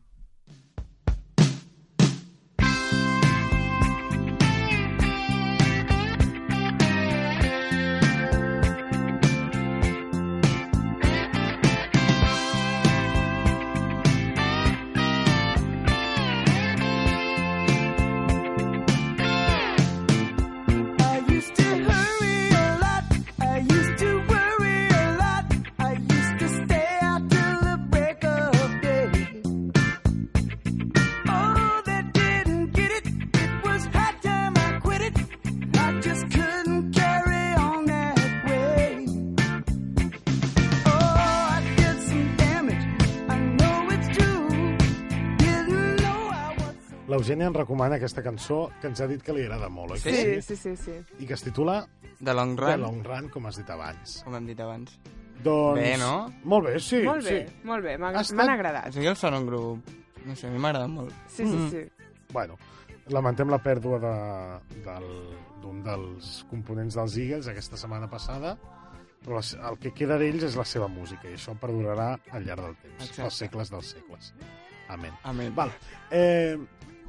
S7: I used to hurry a lot. I used to worry a lot. I used to stay out till the break of day. Oh, they didn't get it. It was high time I quit it. I just couldn't carry on that way. Oh, I did some damage. I know it's true. Didn't know I was.
S1: L'Eugènia ens recomana aquesta cançó que ens ha dit que li agrada molt, oi?
S3: Sí,
S2: Sí, sí, sí, sí.
S1: I que es titula
S3: The Long
S1: The
S3: Run,
S1: Long Run, com has dit abans.
S3: com hem dit abans.
S1: Doncs...
S3: Bé, no?
S1: Molt bé, sí.
S2: molt bé,
S1: Sí.
S2: molt bé. M'ha-
S1: Ha estat-
S2: M'han
S3: Els
S2: agradat.
S3: Eagles són un grup... No sé, a mi m'agrada molt.
S2: Sí, sí,
S1: Mm.
S2: sí.
S1: Bueno, lamentem la pèrdua de, del, d'un dels components dels Eagles aquesta setmana passada, però les, el que queda d'ells és la seva música i això perdurarà al llarg del temps,
S3: Exacte.
S1: els segles dels segles. Amén.
S3: Amén.
S1: Val. Eh,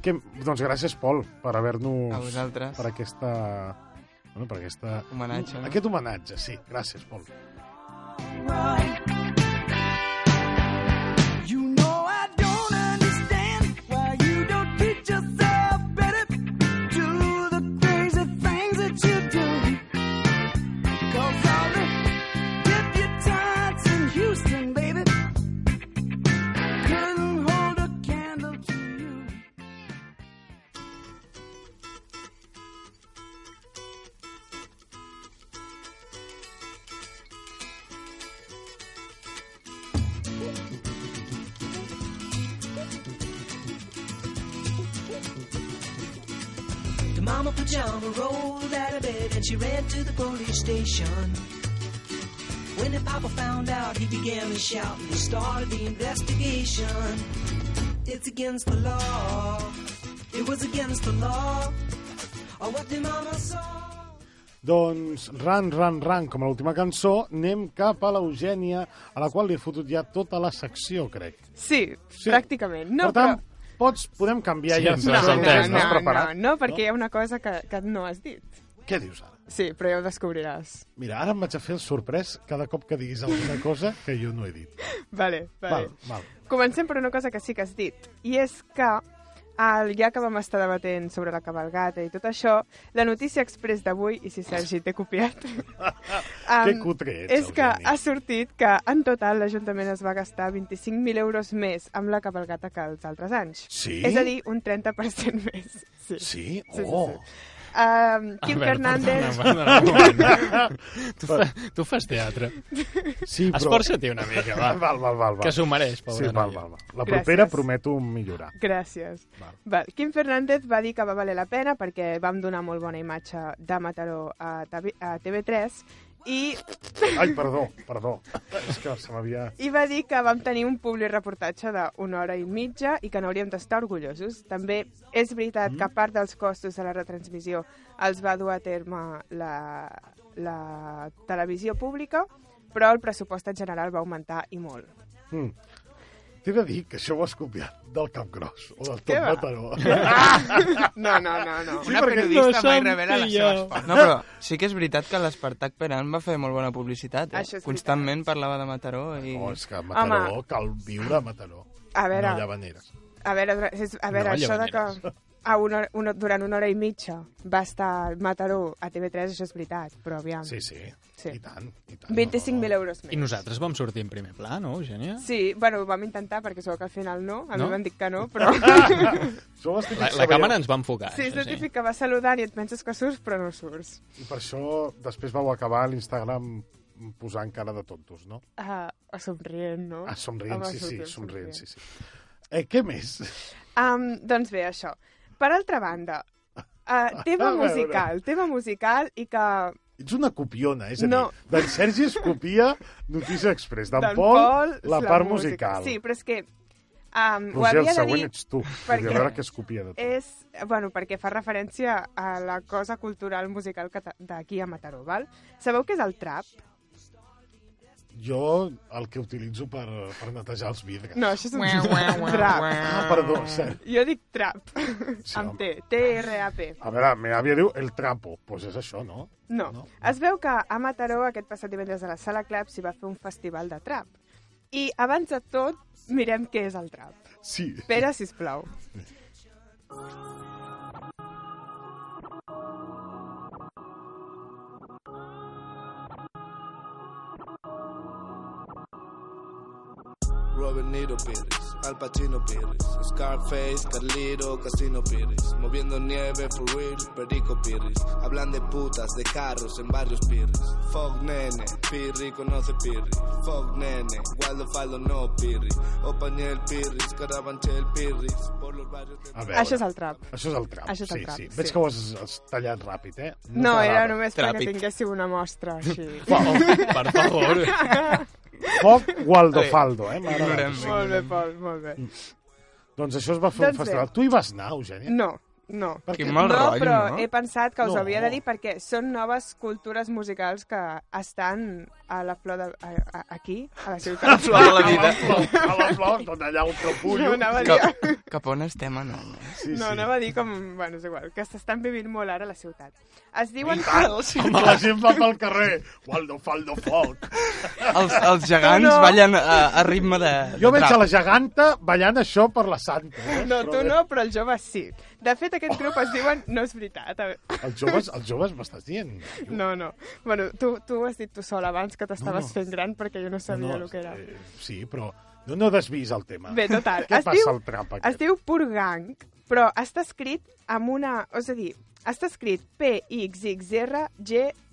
S1: que, doncs gràcies, Pol, per
S3: A
S1: haver-nos...
S3: vosaltres.
S1: Per aquesta... Bueno, per aquesta...
S3: Homenatge,
S8: Mm,
S3: no?
S1: Aquest homenatge, sí. Gràcies, Pol.
S7: You know I don't understand why you don't teach yourself better to the crazy things that you do. Cause all the dip your tots in Houston, baby. Couldn't hold a candle to you. The mama pajama rolled out of bed and she ran to the police station. When the papa found out, he began to shout and he started the investigation. It's against the law. It was against the law. Or what the mama saw.
S1: Doncs, ran, ran, ran, com a l'última cançó, anem cap a l'Eugènia, a la qual li he fotut ja tota la secció, crec.
S2: Sí, sí. pràcticament. No,
S1: per tant, pots, podem canviar
S5: Sí,
S1: ja.
S5: ens
S1: si
S2: però... No,
S5: Estàs
S2: no,
S5: entès,
S2: no,
S1: Estàs
S2: no,
S1: preparat?
S2: no, perquè hi ha una cosa que, que no has dit.
S1: Què dius ara?
S2: Sí, però ja ho descobriràs.
S1: Mira, ara em vaig a fer el sorprès cada cop que diguis alguna cosa que jo no he dit.
S2: Vale, vale.
S1: Val, val.
S2: Comencem per una cosa que sí que has dit, i és que el, ja que vam estar debatent sobre la cabalgata i tot això, la notícia express d'avui, i si Sergi t'he copiat,
S1: Que
S2: em,
S1: cutre ets,
S2: és que
S1: Eugènia.
S2: ha sortit que en total l'Ajuntament es va gastar 25.000 euros més amb la cabalgata que els altres anys.
S1: Sí?
S2: És a dir, un 30% més. Sí.
S1: Sí?
S2: Sí, sí,
S1: Oh!
S2: sí. Um, Quim
S5: Albert,
S2: Fernández...
S5: perdona, perdona, perdona. tu, fa, tu fas teatre.
S1: Sí, però...
S5: Esforça-t'hi una mica, va.
S1: Val, val, val, val.
S5: Que s'ho mereix, pobra
S1: Sí, val,
S5: noia.
S1: val, val. La propera
S2: Gràcies.
S1: prometo millorar.
S2: Gràcies.
S1: Val.
S2: Val. Val. Quim Fernández va dir que va valer la pena perquè vam donar molt bona imatge de Mataró a, TV, a TV3 i,
S1: Ai, perdó, perdó. És que se m'havia...
S2: i va dir que vam tenir un públic reportatge d'una hora i mitja i que n'hauríem d'estar orgullosos. També és veritat mm. que part dels costos de la retransmissió els va dur a terme la, la televisió pública, però el pressupost en general va augmentar i molt.
S1: Mm. T'he de dir que això ho has copiat del cap gros o del tot
S2: Què va?
S1: Mataró.
S2: No, no, no, no.
S6: Una
S1: perquè
S6: periodista
S5: no
S6: mai
S5: som
S6: revela les
S5: pillos.
S6: seves parts.
S3: No, però sí que és veritat que l'Espartac Peran va fer molt bona publicitat.
S2: Això
S3: Eh?
S2: és
S3: Constantment parlava de Mataró i...
S1: Oh, és que a Mataró
S2: Home.
S1: cal viure a Mataró.
S2: A veure...
S1: No llavaneres.
S2: A veure, és, a veure
S5: No,
S2: no, això de
S5: Llavaneres.
S2: que a una, una, durant una hora i mitja va estar Mataró a TV3, això és veritat, però aviam.
S1: Sí, sí,
S2: Sí.
S1: I tant, i tant.
S2: 25.000 euros més.
S5: I nosaltres vam sortir en primer pla, no, Eugènia?
S2: Sí, bueno, ho vam intentar, perquè segur que al final no. A no?
S5: No?
S2: mi m'han dit que no, però...
S1: Això ho estic
S5: La, la
S1: sabent.
S5: càmera ens va enfocar,
S2: sí, és
S5: això
S2: el típic que vas saludant i et penses que surts, però no surts.
S1: I per això després vau acabar a l'Instagram posant cara de tontos, no?
S2: Ah, somrient, no?
S1: Ah, somrient,
S2: Home,
S1: sí, sí,
S2: somrient,
S1: somrient,
S2: somrient.
S1: sí, sí. Eh, què més?
S2: Um, doncs bé, això. Per altra banda, uh,
S1: A
S2: tema
S1: veure.
S2: musical, tema musical i que
S1: Ets una copiona, és a dir,
S2: No.
S1: d'en Sergi es copia Notícia Express, d'en
S2: d'en
S1: Pol,
S2: Pol...
S1: la part musical.
S2: Sí, però és que... Um, ho
S1: Roger,
S2: havia
S1: el
S2: de
S1: següent
S2: dir
S1: ets tu,
S2: perquè-
S1: perquè... a veure què es copia de tu.
S2: és, bueno, perquè fa referència a la cosa cultural musical cata- d'aquí a Mataró, val? Sabeu què és el trap?
S1: Jo el que utilitzo per, per netejar els vidres.
S2: No, això és un
S3: Ué, ué, ué,
S2: trap.
S3: ué.
S1: Ah, perdó, cert.
S2: Jo dic trap,
S1: Sí,
S2: amb
S1: home.
S2: T, T-R-A-P.
S1: A veure, me àvia diu el trapo. Doncs pues és això, no?
S2: No.
S1: No.
S2: Es veu que a Mataró aquest passat divendres a la Sala Clap s'hi va fer un festival de trap. I abans de tot, mirem què és el trap.
S1: Sí.
S2: Pere, sisplau.
S8: Robert Niro Pérez, Al Pacino Pérez, Scarface, Carlito, Casino Pérez, moviendo nieve for real, Perico Pérez, hablan de putas, de carros en barrios Pérez, Fog Nene, Pirri conoce Pirri, Fog Nene, Waldo Faldo no Pirri, Opaniel Pirris, Carabanchel Pirris, por los barrios de...
S1: A veure.
S2: Això és el trap.
S1: Això és el trap.
S2: Això és el
S1: sí,
S2: trap,
S1: sí.
S2: sí.
S1: Veig que ho has, has tallat ràpid, eh?
S2: No, era
S1: t'agrada.
S2: només
S3: Trapit.
S2: perquè tinguéssiu una mostra així.
S5: Oh, per favor.
S1: Foc Waldo
S3: Bé,
S1: Faldo, eh? M'ha agradat.
S3: Ignorem.
S2: molt bé, Pol, molt bé.
S1: Doncs això es va fer un
S2: Doncs bé.
S1: festival. Tu hi vas anar, Eugènia?
S2: No, no.
S1: Per
S3: Quin
S1: què?
S3: mal
S2: no,
S3: rotllo,
S2: però
S3: no?
S2: he pensat que us
S1: No.
S2: no. havia de dir perquè són noves cultures musicals que estan a la flor de... A, a, aquí, a la ciutat.
S1: A la
S3: Flor de Tota la vida.
S1: flor, a la flor, d'on allà ho propullo.
S2: No, anava a dir,
S3: Cap, cap on estem anant? eh?
S1: Sí,
S2: no,
S1: sí.
S2: anava a dir com... Bueno, és igual, que s'estan vivint molt ara a la ciutat. Es diuen...
S1: Home, la gent va pel carrer. Waldo Faldo Foc.
S3: Els, els gegants
S2: No, no.
S3: ballen a, a ritme de, de
S1: Jo veig
S3: trap.
S1: a la geganta ballant això per la santa. Eh?
S2: No,
S1: Però
S2: tu
S1: bé,
S2: no, però els joves sí. De fet, aquest grup es diuen... No és veritat. a veure.
S1: Els joves, els joves m'estàs dient.
S2: No, no. Bueno, tu, tu ho has dit tu sol abans, que t'estaves
S1: No, no.
S2: fent gran, perquè jo no sabia el que era.
S1: eh, sí, però no, no desvis el tema.
S2: Bé, total.
S1: Què
S2: es
S1: passa
S2: diu,
S1: al trap aquest?
S2: Es diu Purgang, però està escrit amb una... És a dir, està escrit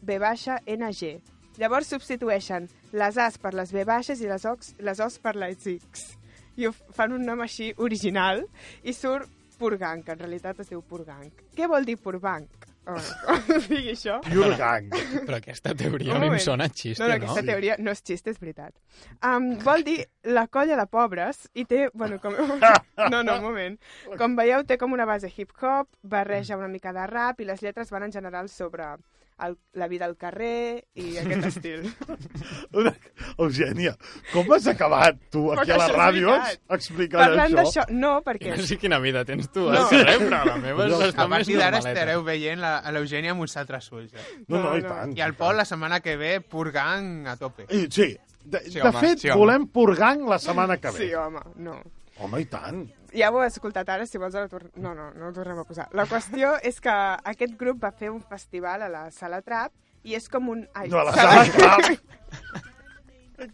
S2: P-X-X-R-G-B-N-G. Llavors substitueixen les As per les B baixes i les, ox, les Os per les X. I ho fan un nom així original i surt Purgank, en realitat es diu Purgank. Què vol dir Purbank? Oh, O, o sigui això.
S1: Pure gang.
S5: Però aquesta teoria
S2: Un
S5: a mi em
S2: moment.
S5: sona a
S2: No,
S5: xiste,
S2: no,
S5: no?
S2: aquesta teoria no és xiste, és veritat. Um, vol dir la colla de pobres i té, bueno, com... No, no, un moment. Com veieu, té com una base hip-hop, barreja una mica de rap i les lletres van en general sobre el, la vida al carrer i aquest estil.
S1: Una... Eugènia, com has acabat tu aquí
S2: Perquè
S1: a la
S2: això és
S1: ràdio
S2: veritat.
S1: explicant
S2: Parlant
S1: això?
S2: d'això, no, perquè...
S5: No sé quina vida tens tu,
S2: No.
S5: no. eh? però la meva
S1: No.
S5: és
S6: A
S5: bastant més
S6: partir d'ara
S5: normaleta.
S6: estareu veient la- a l'Eugènia amb uns altres ulls. Eh?
S1: No, no,
S2: No,
S1: i
S2: no.
S1: tant.
S6: I al Pol, la setmana que ve, purgant a tope.
S1: I, sí, de,
S3: Sí,
S1: de
S3: home,
S1: fet,
S3: sí, home.
S1: volem purgang la setmana que ve.
S2: Sí, home, no.
S1: Home, i tant.
S2: Ja ho he escoltat ara, si vols ara tor- No, no, no ho tornem a posar. La qüestió és que aquest grup va fer un festival a la Sala Trap i és com un... Ai,
S1: No, a la sala clap.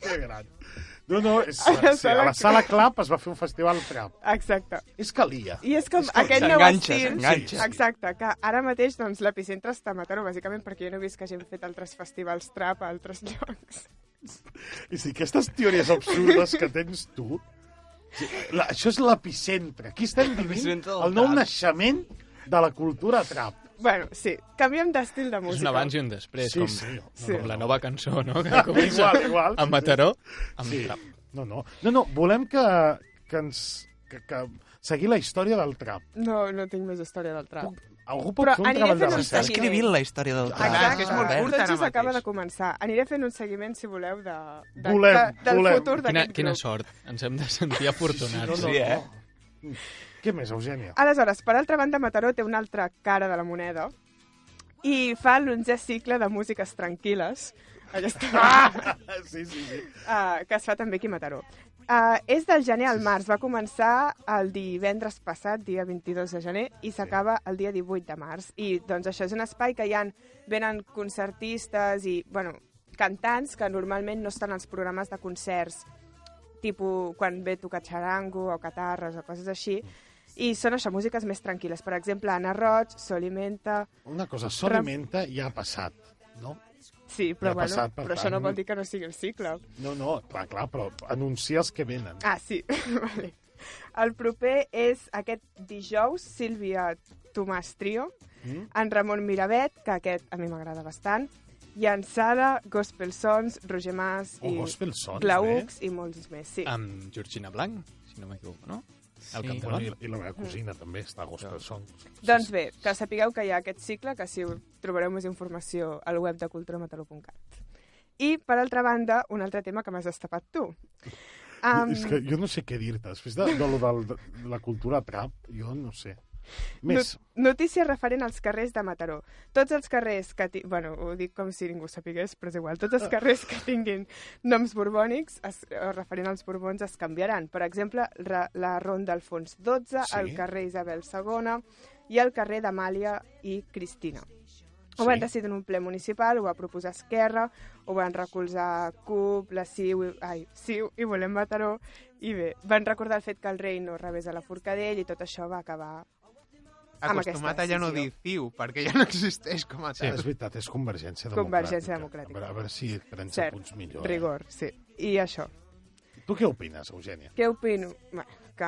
S1: que gran. No, no, és,
S2: A la
S1: sí, a la
S2: sala
S1: sala clap es va fer un festival trap.
S2: Exacte.
S1: És calia.
S2: I és com
S1: És com
S2: aquest nou
S3: s'enganxa,
S2: estil...
S3: s'enganxa.
S2: Exacte, que ara mateix doncs, l'epicentre està a Mataró, bàsicament perquè jo no he vist que hagin fet altres festivals trap a altres llocs.
S1: És a dir, aquestes teories absurdes que tens tu... sí, La, això és l'epicentre. Aquí estem vivint
S3: L'epicentre del
S1: el nou
S3: trap.
S1: naixement de la cultura trap.
S2: Bueno, sí, canviem d'estil de música.
S5: És un abans i un després,
S1: Sí,
S5: com,
S1: sí.
S2: Sí.
S5: com la nova cançó, no? Que comença
S1: Igual, igual.
S5: a Mataró amb
S1: Sí.
S5: trap.
S1: No, no. No, no, volem que, que ens... Que, que seguir la història del trap.
S2: No, no tinc més història del trap.
S1: Algú pot
S2: Però
S1: fer un
S2: aniré
S1: treball de
S2: fent un
S3: Està
S1: recerca.
S2: seguiment.
S3: escrivint la història del
S1: Exacte.
S3: tracte.
S6: que Ah, és molt
S3: Albert.
S6: curt.
S2: Tot
S6: ara
S2: just acaba
S6: mateix.
S2: de començar. Aniré fent un seguiment, si voleu, de, de,
S1: Volem,
S2: de, del
S1: volem.
S2: futur d'aquest
S5: Quina,
S2: grup.
S5: quina sort. Ens hem de sentir afortunats.
S3: Sí, eh?
S1: no. Què més, Eugènia?
S2: Aleshores, per altra banda, Mataró té una altra cara de la moneda i fa l'onzè cicle de músiques tranquil·les. Allà està.
S1: Sí, sí, sí.
S2: Ah, que es fa també aquí a Mataró. Ah, és del gener al març, va començar el divendres passat, dia 22 de gener, i s'acaba el dia 18 de març. I doncs això és un espai que hi han, venen concertistes i, bueno, cantants que normalment no estan als programes de concerts, tipus quan ve tocar xarango o catarres o coses així, i són això, músiques més tranquil·les. Per exemple, Anna Roig, Sol i Menta...
S1: Una cosa, Sol i Menta ja ha passat, no?
S2: Sí,
S1: Ja
S2: però,
S1: ha
S2: bueno,
S1: passat, per
S2: però això no
S1: tant.
S2: vol dir que no sigui el cicle.
S1: No, no, clar, clar, però anuncies que venen.
S2: Ah, sí, vale. El proper és aquest dijous, Sílvia Tomàs Trio,
S1: Mm?
S2: en Ramon Miravet, que aquest a mi m'agrada bastant, i en Sala, Gospel Sons, Roger Mas
S1: O
S2: i
S1: Oh, Gospel Sons, Ah,
S2: Glaux i molts més, sí.
S5: Amb Georgina Blanc, si no m'equivoco, no? Al
S3: Sí.
S1: Bueno,
S5: capdavant.
S1: i, I la meva cosina també està a Gospel Sons.
S2: doncs bé, que sapigueu que hi ha aquest cicle, que si ho- trobareu més informació al web de culturamataló.cat. I, per altra banda, un altre tema que m'has destapat tu. Em,
S1: És que jo no sé què dir-te. Després de, de, lo del- de, la cultura trap, jo no sé. Més,
S2: No- Notícia referent als carrers de Mataró. Tots els carrers que... Ti... Bueno, ho dic com si ningú ho sapigués, però és igual. Tots
S1: Ah.
S2: els carrers que tinguin noms borbònics es, o referent als borbons es canviaran. Per exemple, ra, la Ronda Alfons XII,
S1: Sí.
S2: el carrer Isabel II i el carrer d'Amàlia i Cristina. Ho van decidir en un ple municipal, ho va proposar Esquerra, ho van recolzar CUP, la CIU, i- ai, CIU i Volem Mataró, i bé, van recordar el fet que el rei no rebés a la Forcadell i tot això va acabar amb aquesta
S6: Acostumat a ja no dir
S2: decisió.
S6: ciu, perquè ja no existeix com a
S1: sí.
S6: tal.
S1: és veritat, és Convergència Democràtica.
S2: Convergència Democràtica.
S1: A veure, a veure si prens
S2: Cert,
S1: punts millor.
S2: rigor, sí. I això,
S1: Eh? Tu què opines, Eugènia?
S2: què opino? Bé, que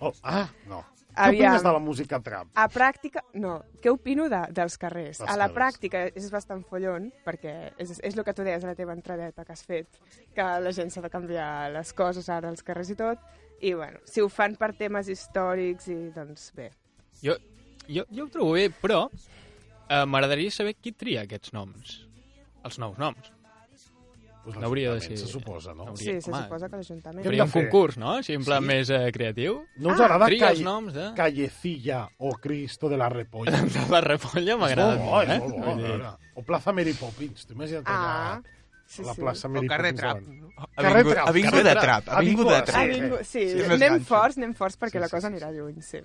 S1: Oh, ah, no. Què
S2: Aviam.
S1: opines de la música trap?
S2: a pràctica... No, què opino de, dels carrers?
S1: Dels
S2: a la
S1: carrers.
S2: pràctica és bastant follon, perquè és, és el que tu deies a la teva entradeta que has fet, que la gent s'ha de canviar les coses ara als carrers i tot, i bueno, si ho fan per temes històrics i doncs bé.
S5: Jo, jo, jo ho trobo bé, però eh, m'agradaria saber qui tria aquests noms. Els nous noms.
S1: Pues
S5: No hauria de
S1: l'Ajuntament,
S5: ser-
S1: Se suposa, no?
S5: no hauria-
S2: Sí, se
S5: home,
S2: suposa que l'Ajuntament...
S1: jo-
S5: Faria un
S1: fer?
S5: concurs, no? Així, en plan
S1: Sí.
S5: més eh, creatiu.
S1: No us agrada
S5: Tria els
S1: calle-
S5: noms eh? de...
S1: Callecilla o Cristo de la Repolla.
S5: De la Repolla m'agrada.
S1: És
S5: eh?
S1: molt bo,
S5: molt,
S1: és molt bo,
S5: Vull
S1: a
S5: dir,
S1: veure. O Plaza Mary Poppins, t'ho imagina't
S2: Ah,
S1: allà,
S2: sí,
S1: a la
S2: sí.
S1: plaça
S6: O
S1: Mary
S6: carrer
S1: Poppins.
S6: trap.
S1: davant.
S6: no?
S3: Ha
S1: Carrer
S3: vingut,
S1: trap,
S3: ha vingut
S1: carrer
S3: de
S1: trap,
S3: trap,
S1: ha
S3: ha vingut de
S1: vingut de
S2: Ah,
S3: trap.
S2: vingut, sí,
S3: Sí, és més
S2: anem
S3: ganxo.
S2: forts, anem forts perquè
S1: Sí,
S2: la
S1: sí,
S2: cosa
S1: sí,
S2: anirà lluny, sí.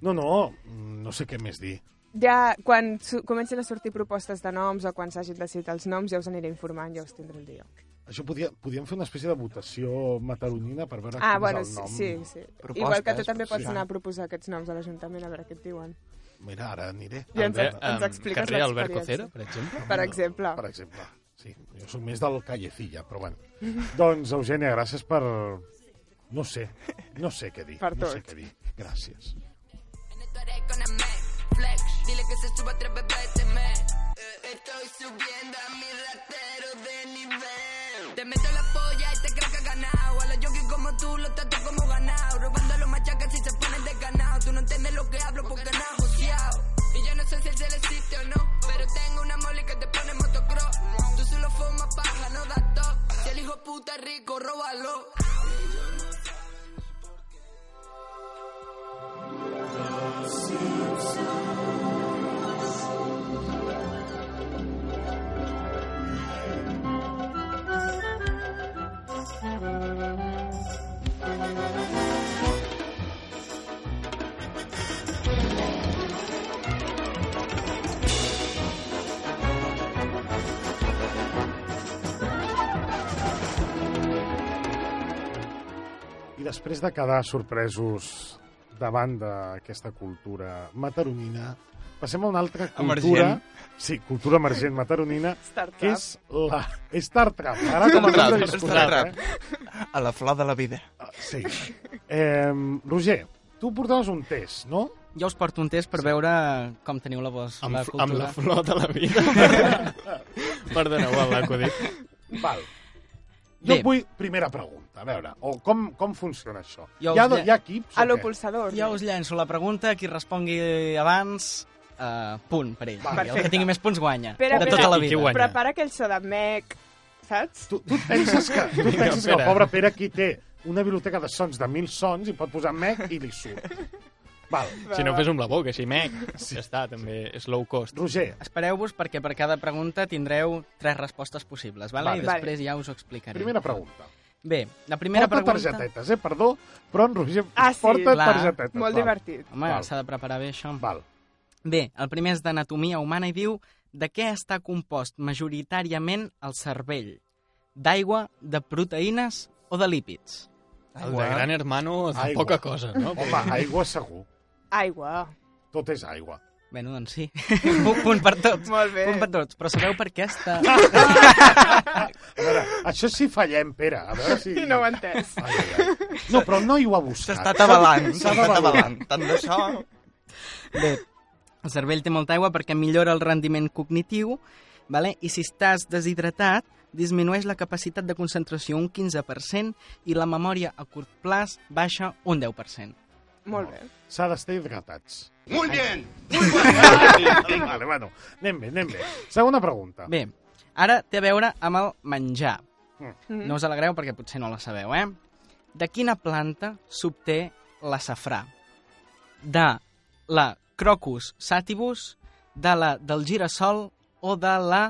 S1: No, no, mm, no sé què més dir.
S2: Ja, quan su- comencin a sortir propostes de noms o quan s'hagin decidit els noms, ja us aniré informant, ja us tindré el dia.
S1: Això podia, podíem fer una espècie de votació mataronina per veure
S2: Ah,
S1: quin
S2: bueno,
S1: és el
S2: sí,
S1: nom.
S2: sí. sí.
S3: Propostes,
S2: Igual que tu també
S3: potser.
S2: pots anar a proposar aquests noms a l'Ajuntament, a veure què et diuen.
S1: Mira, ara aniré.
S2: Ja ens-
S5: Eh,
S1: Albert,
S2: ens
S5: em,
S2: expliques
S5: Carrer Albert
S2: l'experiència.
S5: Cocera, per exemple.
S2: Per exemple.
S1: Ah, Per exemple. Sí, jo sóc més del Callecilla, però bueno. doncs, Eugènia, gràcies per... No sé, no sé què dir.
S2: Per
S1: no sé
S2: tot.
S1: què dir. Gràcies.
S9: Panamá. Flex, dile que se suba tres veces este mes. Eh, Estoy subiendo a mi ratero de nivel. Te meto la polla y te crees que has ganado. A los jockeys como tú los trato como ganado. Robando los machacas si se ponen desganados. Tú no entiendes lo que hablo porque no has joseado. Y yo no sé si él se le existe o no. Pero tengo una mole que te pone motocross. Tú solo fumas paja, no das top. Si el hijo puta es rico, róbalo.
S1: I després de quedar sorpresos davant d'aquesta cultura mataronina, passem a una altra cultura...
S10: Emergent.
S1: Sí, cultura emergent mataronina,
S10: Startup.
S1: que és la... Startup. Ara com
S3: Startup,
S1: a
S3: startup. A la flor de la vida.
S1: eh? Sí. Eh, Roger, tu portaves un test, no?
S4: Jo us porto un test per veure com teniu la voz,
S5: Amb
S4: la
S5: fl-
S4: cultura.
S5: amb la flor de la vida. Perdoneu, va, l'acudit.
S1: Val. Jo
S4: Bé.
S1: vull primera pregunta, a veure, o com, com funciona això?
S4: Jo
S1: hi, ha,
S4: us
S1: do-
S4: lle-
S1: hi ha equips? o què?
S4: Jo us llenço la pregunta, qui respongui abans, eh, punt per ell.
S2: Va,
S4: I el que
S2: perfecte.
S4: tingui més punts guanya,
S2: Pere,
S4: de
S2: Pere,
S4: tota la vida.
S2: Prepara aquell sodamec, saps?
S1: Tu, tu penses que, tu penses que el pobre Pere aquí té una biblioteca de sons de mil sons i pot posar mec i li surt. Val.
S5: Si no, fes amb la boca, així, mec. Sí. Ja està, també és low cost.
S1: Roger.
S4: Espereu-vos perquè per cada pregunta tindreu tres respostes possibles, vale?
S5: Vale.
S4: i després ja us ho explicaré.
S1: Primera pregunta.
S4: Bé, la primera
S1: porta
S4: pregunta...
S1: targetetes, eh? Perdó, però en Roger ah, sí. porta
S4: Clar.
S1: targetetes. val.
S4: Home,
S1: Val.
S4: s'ha de preparar bé això.
S1: Val.
S4: Bé, el primer és d'anatomia humana i diu de què està compost majoritàriament el cervell? D'aigua, de proteïnes o de lípids?
S5: El de Gran Hermano de
S4: Aigua.
S5: poca cosa, no?
S4: Home,
S1: aigua segur.
S2: Aigua.
S1: Tot és aigua.
S4: Bueno, doncs sí. Un punt per tots.
S2: Molt bé.
S4: Punt per tots. Però sabeu per què està...
S1: A veure, això sí fallem, Pere. A veure si...
S2: I no ho he entès.
S1: No, però no hi ho ha buscat.
S4: S'està atabalant,
S1: S'ha
S4: s'està
S1: d'avaluar.
S4: atabalant. Tant de so. Bé, el cervell té molta aigua perquè millora el rendiment cognitiu vale? i si estàs deshidratat disminueix la capacitat de concentració un 15% i la memòria a curt plaç baixa un 10%.
S2: Molt bé.
S1: S'ha d'estar hidratats.
S4: Molt bien!
S1: vale, bueno, anem bé, anem bé. Segona pregunta.
S4: Bé, ara té a veure amb el menjar.
S1: Mm.
S4: No us alegreu perquè potser no la sabeu, eh? De quina planta s'obté la safrà? De la crocus sativus, de la del girassol o de la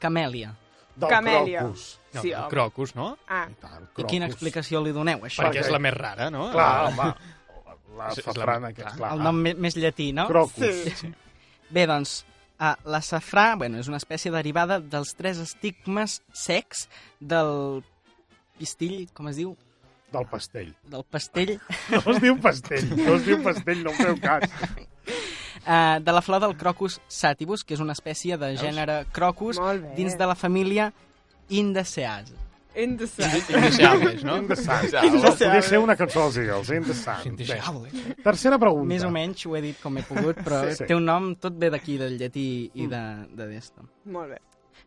S4: camèlia?
S1: Del Camèlia. crocus. No, Sí, del home. crocus,
S5: no?
S2: Ah.
S1: I, tant,
S4: I quina explicació li doneu, això?
S5: Perquè és la més rara, no?
S4: Clar,
S5: La-
S4: home.
S1: La
S5: És- és la-
S1: safrana, que és clar.
S4: El nom me- més llatí, no?
S1: ah, Crocus. Sí.
S4: Bé, doncs, uh, la safrà bueno, és una espècie derivada dels tres estigmes secs del pistill, com es diu?
S1: Del pastell.
S4: Del pastell.
S1: No es diu pastell, no es diu pastell, no em feu cas.
S4: Uh, de la flor del crocus sativus, que és una espècie de gènere crocus dins de la família Indaceae.
S2: Indeseables.
S4: Indeseables, Ah, no?
S1: Indeseables.
S4: Indeseables.
S1: Això podria ser una cançó dels Eagles, Indeseables. Bé. Tercera pregunta.
S4: eh? Més o menys ho he dit com he pogut, però
S1: Sí.
S4: sí. té un nom, tot ve d'aquí, del llatí i de, de d'esto.
S2: Molt bé.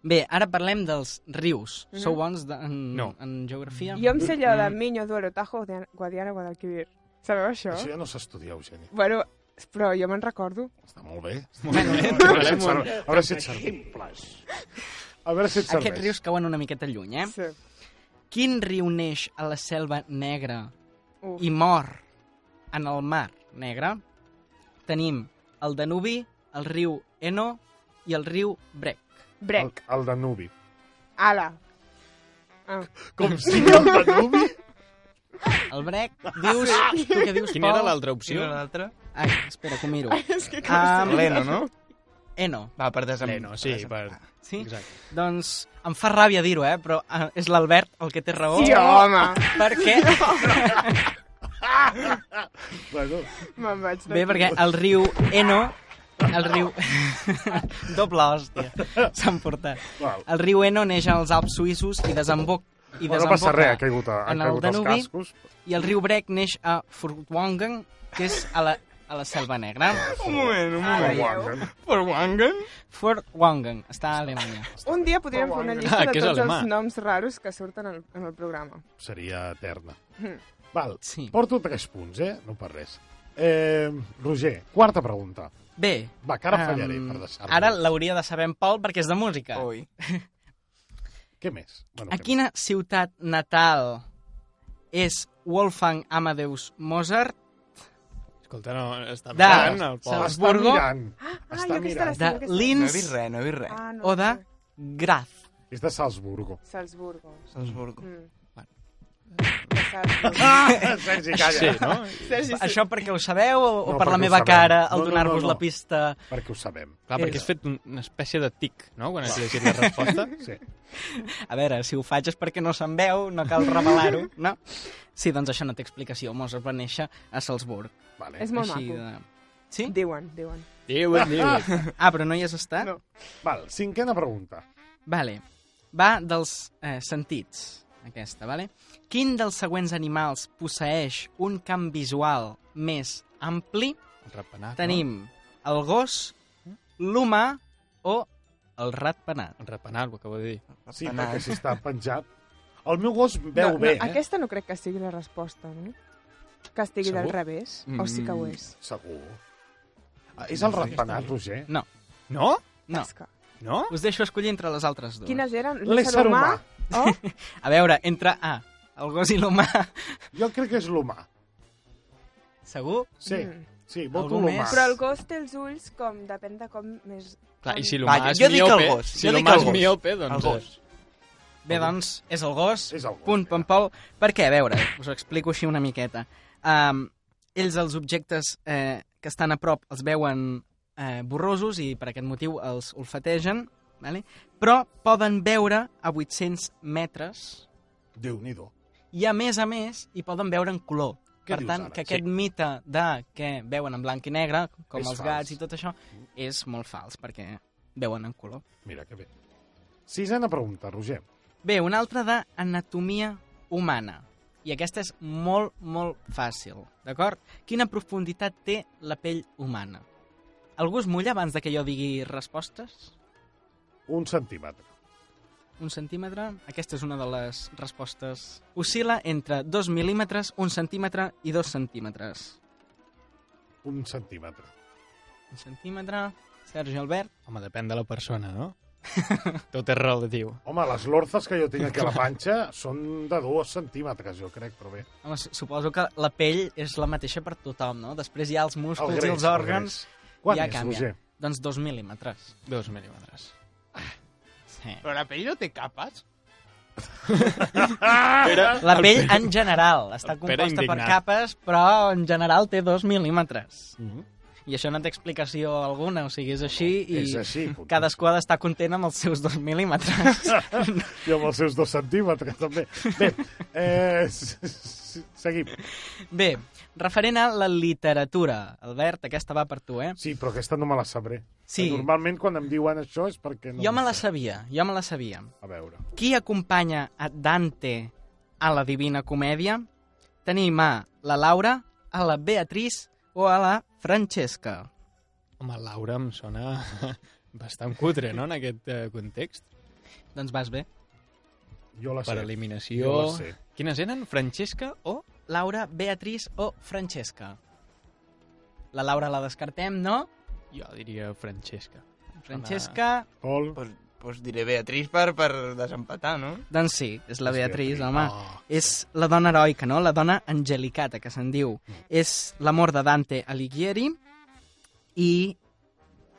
S4: Bé, ara parlem dels rius.
S2: Mhm.
S4: Sou bons de, en,
S5: No.
S4: en geografia?
S2: Jo em sé allò
S1: Mm.
S2: de Miño, Duero, Tajo, Guadiana, Guadiana, Guadalquivir. Sabeu això?
S1: Això ja no s'estudia, Eugeni.
S2: Bueno, però jo me'n recordo.
S1: Està molt bé.
S4: Molt bé.
S1: A veure si et serveix. A veure si et serveix. A veure si et serveix.
S4: Aquests rius cauen una miqueta lluny, eh?
S2: Sí.
S4: Quin riu neix a la selva negra
S2: Uf.
S4: i mor en el mar negre? Tenim el Danubi, el riu Eno i el riu Brec.
S2: Brec.
S1: El, el Danubi.
S2: Ala. Ah.
S1: Com sigui el Danubi?
S4: El Brec, dius...
S2: Sí.
S4: Tu què dius,
S5: Quina era
S4: Pol?
S5: l'altra opció? Quina era
S3: l'altra?
S4: Ai, espera, que ho miro.
S3: És que com sigui- L'Eno, no?
S4: Eno.
S3: Va, per desem...
S5: L'Eno, sí, per...
S4: Sí? Doncs em fa ràbia dir-ho, eh? Però eh, és l'Albert el que té raó.
S2: Sí, home.
S4: Perquè...
S1: bueno.
S2: Me'n vaig d'aquí.
S4: Bé, perquè el riu Eno... El riu... Doble hòstia. S'han portat.
S1: Val.
S4: El riu Eno neix als Alps suïssos i desemboc... I
S1: Bueno, no
S4: desemboca
S1: passa res, ha caigut a- han
S4: en el
S1: caigut els
S4: Danubi,
S1: cascos.
S4: I el riu Brec neix a Furtwangen, que és a la a la Selva Negra.
S3: Un moment, un moment.
S2: Adéu.
S3: Per Wangen?
S4: Fort Wangen, està a Alemanya.
S2: Un dia podríem fer una llista
S5: Ah,
S2: de
S5: que és
S2: tots
S5: alemà.
S2: els noms raros que surten al- en el programa.
S1: Seria eterna. Val,
S4: Sí.
S1: porto tres punts, eh? No per res. Eh, Roger, quarta pregunta.
S4: Bé.
S1: Va, que ara
S4: em,
S1: fallaré per deixar-lo.
S4: Ara l'hauria de saber en Pol perquè és de música.
S3: Oi.
S1: Què més? Bueno,
S4: A
S1: què
S4: quina ciutat natal és Wolfgang Amadeus Mozart?
S5: Escolta, no, està
S4: De-
S5: mirant el
S1: més?
S5: Pol.
S4: Saps-
S1: Està
S4: Habsburgo?
S1: mirant.
S2: Ah,
S1: Està
S2: jo aquesta la
S1: mirant.
S2: sé.
S4: De
S2: jo aquesta-
S3: No he vist
S4: Linz,
S3: res, no he vist res.
S2: Ah, no,
S4: o de
S2: sé.
S4: Graz.
S1: És de Salzburgo.
S2: Salzburgo.
S3: Salzburgo.
S2: Mm.
S3: Bueno.
S2: De Salzburgo.
S1: Ah! Sergi, calla.
S5: Sí, no?
S2: Sergi, sí.
S4: Això perquè ho sabeu o, o
S1: No,
S4: per
S1: perquè
S4: la
S1: ho
S4: meva
S1: sabem.
S4: cara al
S1: No, no,
S4: donar-vos
S1: no, no.
S4: la pista?
S1: Perquè ho sabem.
S5: Clar, perquè
S4: És-
S5: has fet un- una espècie de tic, no?, quan has llegit la resposta.
S1: Sí.
S4: A veure, si ho faig és perquè no se'n veu, no cal revelar-ho, no? Sí, doncs això no té explicació. Mozart va néixer a Salzburg.
S1: Vale.
S2: És molt
S4: Així
S2: maco.
S4: de... Sí?
S2: Diuen, diuen.
S5: Diu, diu.
S4: Ah, però no hi has estat?
S2: No.
S1: Val, cinquena pregunta.
S4: Vale. Va dels eh, sentits, aquesta, vale? Quin dels següents animals posseix un camp visual més ampli?
S5: Repenat,
S4: Tenim el gos, l'humà o el ratpenat.
S5: No? Repenat, el que vol dir.
S1: Sí,
S3: Anant.
S1: perquè si està penjat... El meu gos veu
S2: no,
S1: bé,
S2: no,
S1: eh?
S2: Aquesta no crec que sigui la resposta, no? Que estigui
S5: Segur?
S2: del revés, o sí que ho és.
S1: Segur. Ah, és el ratpenat, Roger?
S5: No?
S4: No,
S2: Tasca.
S5: No?
S4: us deixo escollir entre les altres dues.
S2: Quines eren?
S1: L'ésser humà.
S2: O
S4: A veure, entre A, el gos i l'humà,
S1: Jo crec que és l'humà.
S4: segur?
S1: Sí,
S2: Mm.
S1: sí, voto
S4: Algú
S1: l'humà.
S4: més?
S2: Però el gos té els ulls com, depèn de com més...
S5: Clar, i si
S3: Va,
S5: l'humà
S3: jo-
S5: és
S3: jo dic el
S5: miope,
S3: gos,
S5: si
S3: jo dic
S5: l'humà
S3: el
S5: és
S3: gos.
S5: miope,
S3: El
S5: doncs...
S3: gos.
S4: Bé, doncs, és el gos.
S1: És el gos,
S4: Punt,
S1: mira.
S4: pom, pol. Per què? A veure, us ho explico així una miqueta. Um, ells els objectes eh, que estan a prop els veuen eh, borrosos i per aquest motiu els olfategen, vale? però poden veure a 800 metres
S1: Déu-n'hi-do.
S4: i a més a més hi poden veure en color.
S1: Què
S4: per
S1: dius
S4: tant,
S1: ara?
S4: que aquest mite de que veuen en blanc i negre, com
S1: És
S4: els
S1: fals.
S4: gats i tot això, és molt fals perquè veuen en color.
S1: Mira, que bé. Sisena pregunta, Roger.
S4: Bé, una altra d'anatomia humana. I aquesta és molt, molt fàcil, d'acord? Quina profunditat té la pell humana? Algú es mulla abans de que jo digui respostes?
S1: Un centímetre.
S4: Un centímetre? Aquesta és una de les respostes. Oscil·la entre 2 mil·límetres, 1 centímetre i 2 centímetres.
S1: Un centímetre.
S4: Un centímetre... Sergi Albert?
S5: Home, depèn de la persona, no? Tot és relatiu.
S1: Home, les lorzes que jo tinc aquí a la panxa són de dos centímetres, jo crec, però bé.
S4: Home, su- suposo que la pell és la mateixa per tothom, no? Després hi ha els músculs
S1: greix,
S4: i els òrgans...
S1: greix. Quan
S4: ja
S1: és,
S4: canvia.
S1: Roger?
S4: Doncs 2 mil·límetres.
S5: Dos mil·límetres.
S4: Sí.
S6: Però la pell no té capes?
S4: La pell en general està
S5: el Pere
S4: composta per
S5: indignat.
S4: capes, però en general té dos mil·límetres.
S1: Mm -hmm.
S4: I això no té explicació alguna, o sigui, és així i
S1: Oh, És així. punt.
S4: cadascú ha d'estar content amb els seus dos mil·límetres.
S1: I amb els seus dos centímetres, també. Bé, eh, s- s- seguim.
S4: Bé, referent a la literatura, Albert, aquesta va per tu, eh?
S1: Sí, però aquesta no me la sabré.
S4: Sí.
S1: Normalment, quan em diuen això és perquè no...
S4: Jo me
S1: ho
S4: la
S1: sé.
S4: sabia, jo me la sabia.
S1: A veure.
S4: Qui acompanya a Dante a la Divina Comèdia? Tenim a la Laura, a la Beatriz o a la Francesca.
S5: Home, Laura em sona bastant cutre, no?, en aquest eh, context.
S4: Doncs vas bé.
S1: Jo la
S5: Per
S1: sé.
S5: eliminació...
S1: Jo la sé.
S5: Quines eren? Francesca o...
S4: Laura, Beatriz o Francesca? La Laura la descartem, no?
S5: Jo diria Francesca.
S4: Francesca...
S1: Pol,
S3: Pues, pues diré Beatriz per, per desempatar, no?
S4: Doncs sí, és la
S1: És
S4: Beatriz,
S1: Beatriz. Oh. Ah,
S4: home. És la dona heroica, no? La dona angelicata, que se'n diu.
S1: Mm.
S4: És l'amor de Dante Alighieri i...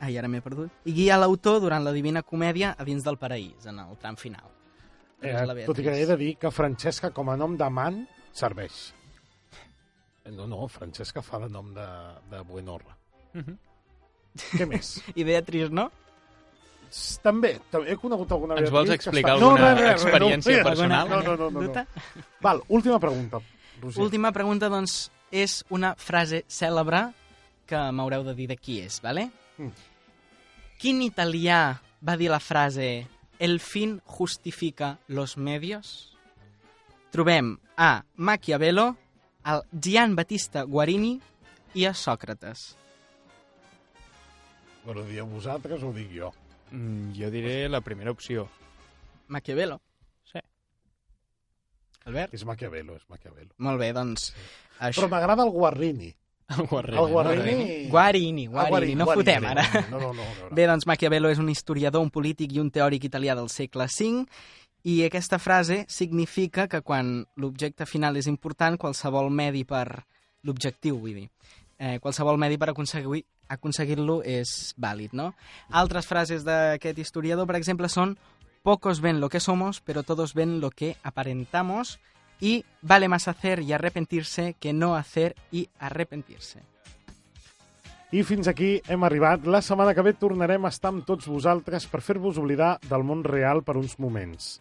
S4: Ai, ara m'he perdut. I guia l'autor durant la Divina Comèdia a dins del Paraís, en el tram final.
S1: eh,
S4: És la
S1: tot i que
S4: Beatriz.
S1: he de dir que Francesca, com a nom de man, serveix. Eh, No, no, Francesca fa de nom de, de Buenorra.
S5: Uh
S4: Mhm.
S5: -huh.
S1: Què més?
S4: I Beatriz, no?
S1: S- També, també he conegut alguna
S5: Ens
S1: Beatriz
S5: vols
S1: que
S5: explicar
S1: està-
S5: alguna
S1: res, res,
S5: experiència
S1: no,
S5: personal?
S1: No, no, no. no,
S4: Duta?
S1: no. Val, última pregunta, Roger.
S4: Última pregunta, doncs, és una frase cèlebre que m'haureu de dir de qui és, vale?
S1: Mm.
S4: Quin italià va dir la frase «El fin justifica los medios»? Trobem a Machiavello, al Gian Battista Guarini i a Sòcrates?
S1: Bueno, dieu vosaltres o dic jo?
S5: Mm, jo diré la primera opció.
S4: Maquiavelo.
S5: Sí.
S4: Albert?
S1: És Maquiavelo, és Maquiavelo.
S4: Molt bé, doncs... Això.
S1: Però m'agrada el Guarrini.
S5: El Guarrini.
S1: El Guarrini...
S4: Guarini,
S1: Ah,
S4: Guarini, no
S1: Guarini,
S4: fotem ara.
S1: No, no, no. a veure.
S4: Bé, doncs Maquiavelo és un historiador, un polític i un teòric italià del segle V i aquesta frase significa que quan l'objecte final és important, qualsevol medi per l'objectiu, vull dir, eh, qualsevol medi per aconseguir aconseguir-lo és vàlid, no? Altres frases d'aquest historiador, per exemple, són «Pocos ven lo que somos, pero todos ven lo que aparentamos» i «Vale más hacer y arrepentirse que no hacer y arrepentirse».
S1: I fins aquí hem arribat. La setmana que ve tornarem a estar amb tots vosaltres per fer-vos oblidar del món real per uns moments.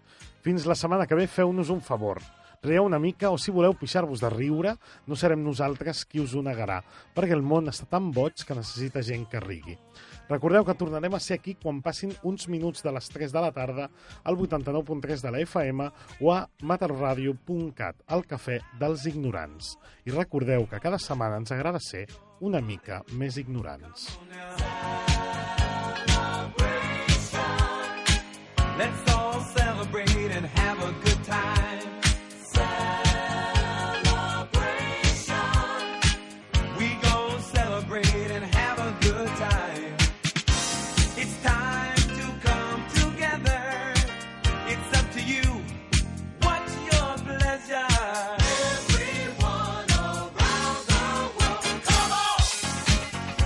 S1: Fins la setmana que ve feu-nos un favor. Rieu una mica o, si voleu pixar-vos de riure, no serem nosaltres qui us ho negarà, perquè el món està tan boig que necessita gent que rigui. Recordeu que tornarem a ser aquí quan passin uns minuts de les 3 de la tarda al 89.3 de la FM o a matarradio.cat, al cafè dels ignorants. I recordeu que cada setmana ens agrada ser una mica més ignorants.
S7: Let's all celebrate and have a good time. Celebration. We gon' celebrate and have a good time. It's time to come together. It's up to you. What's your pleasure? Everyone around the world, come on!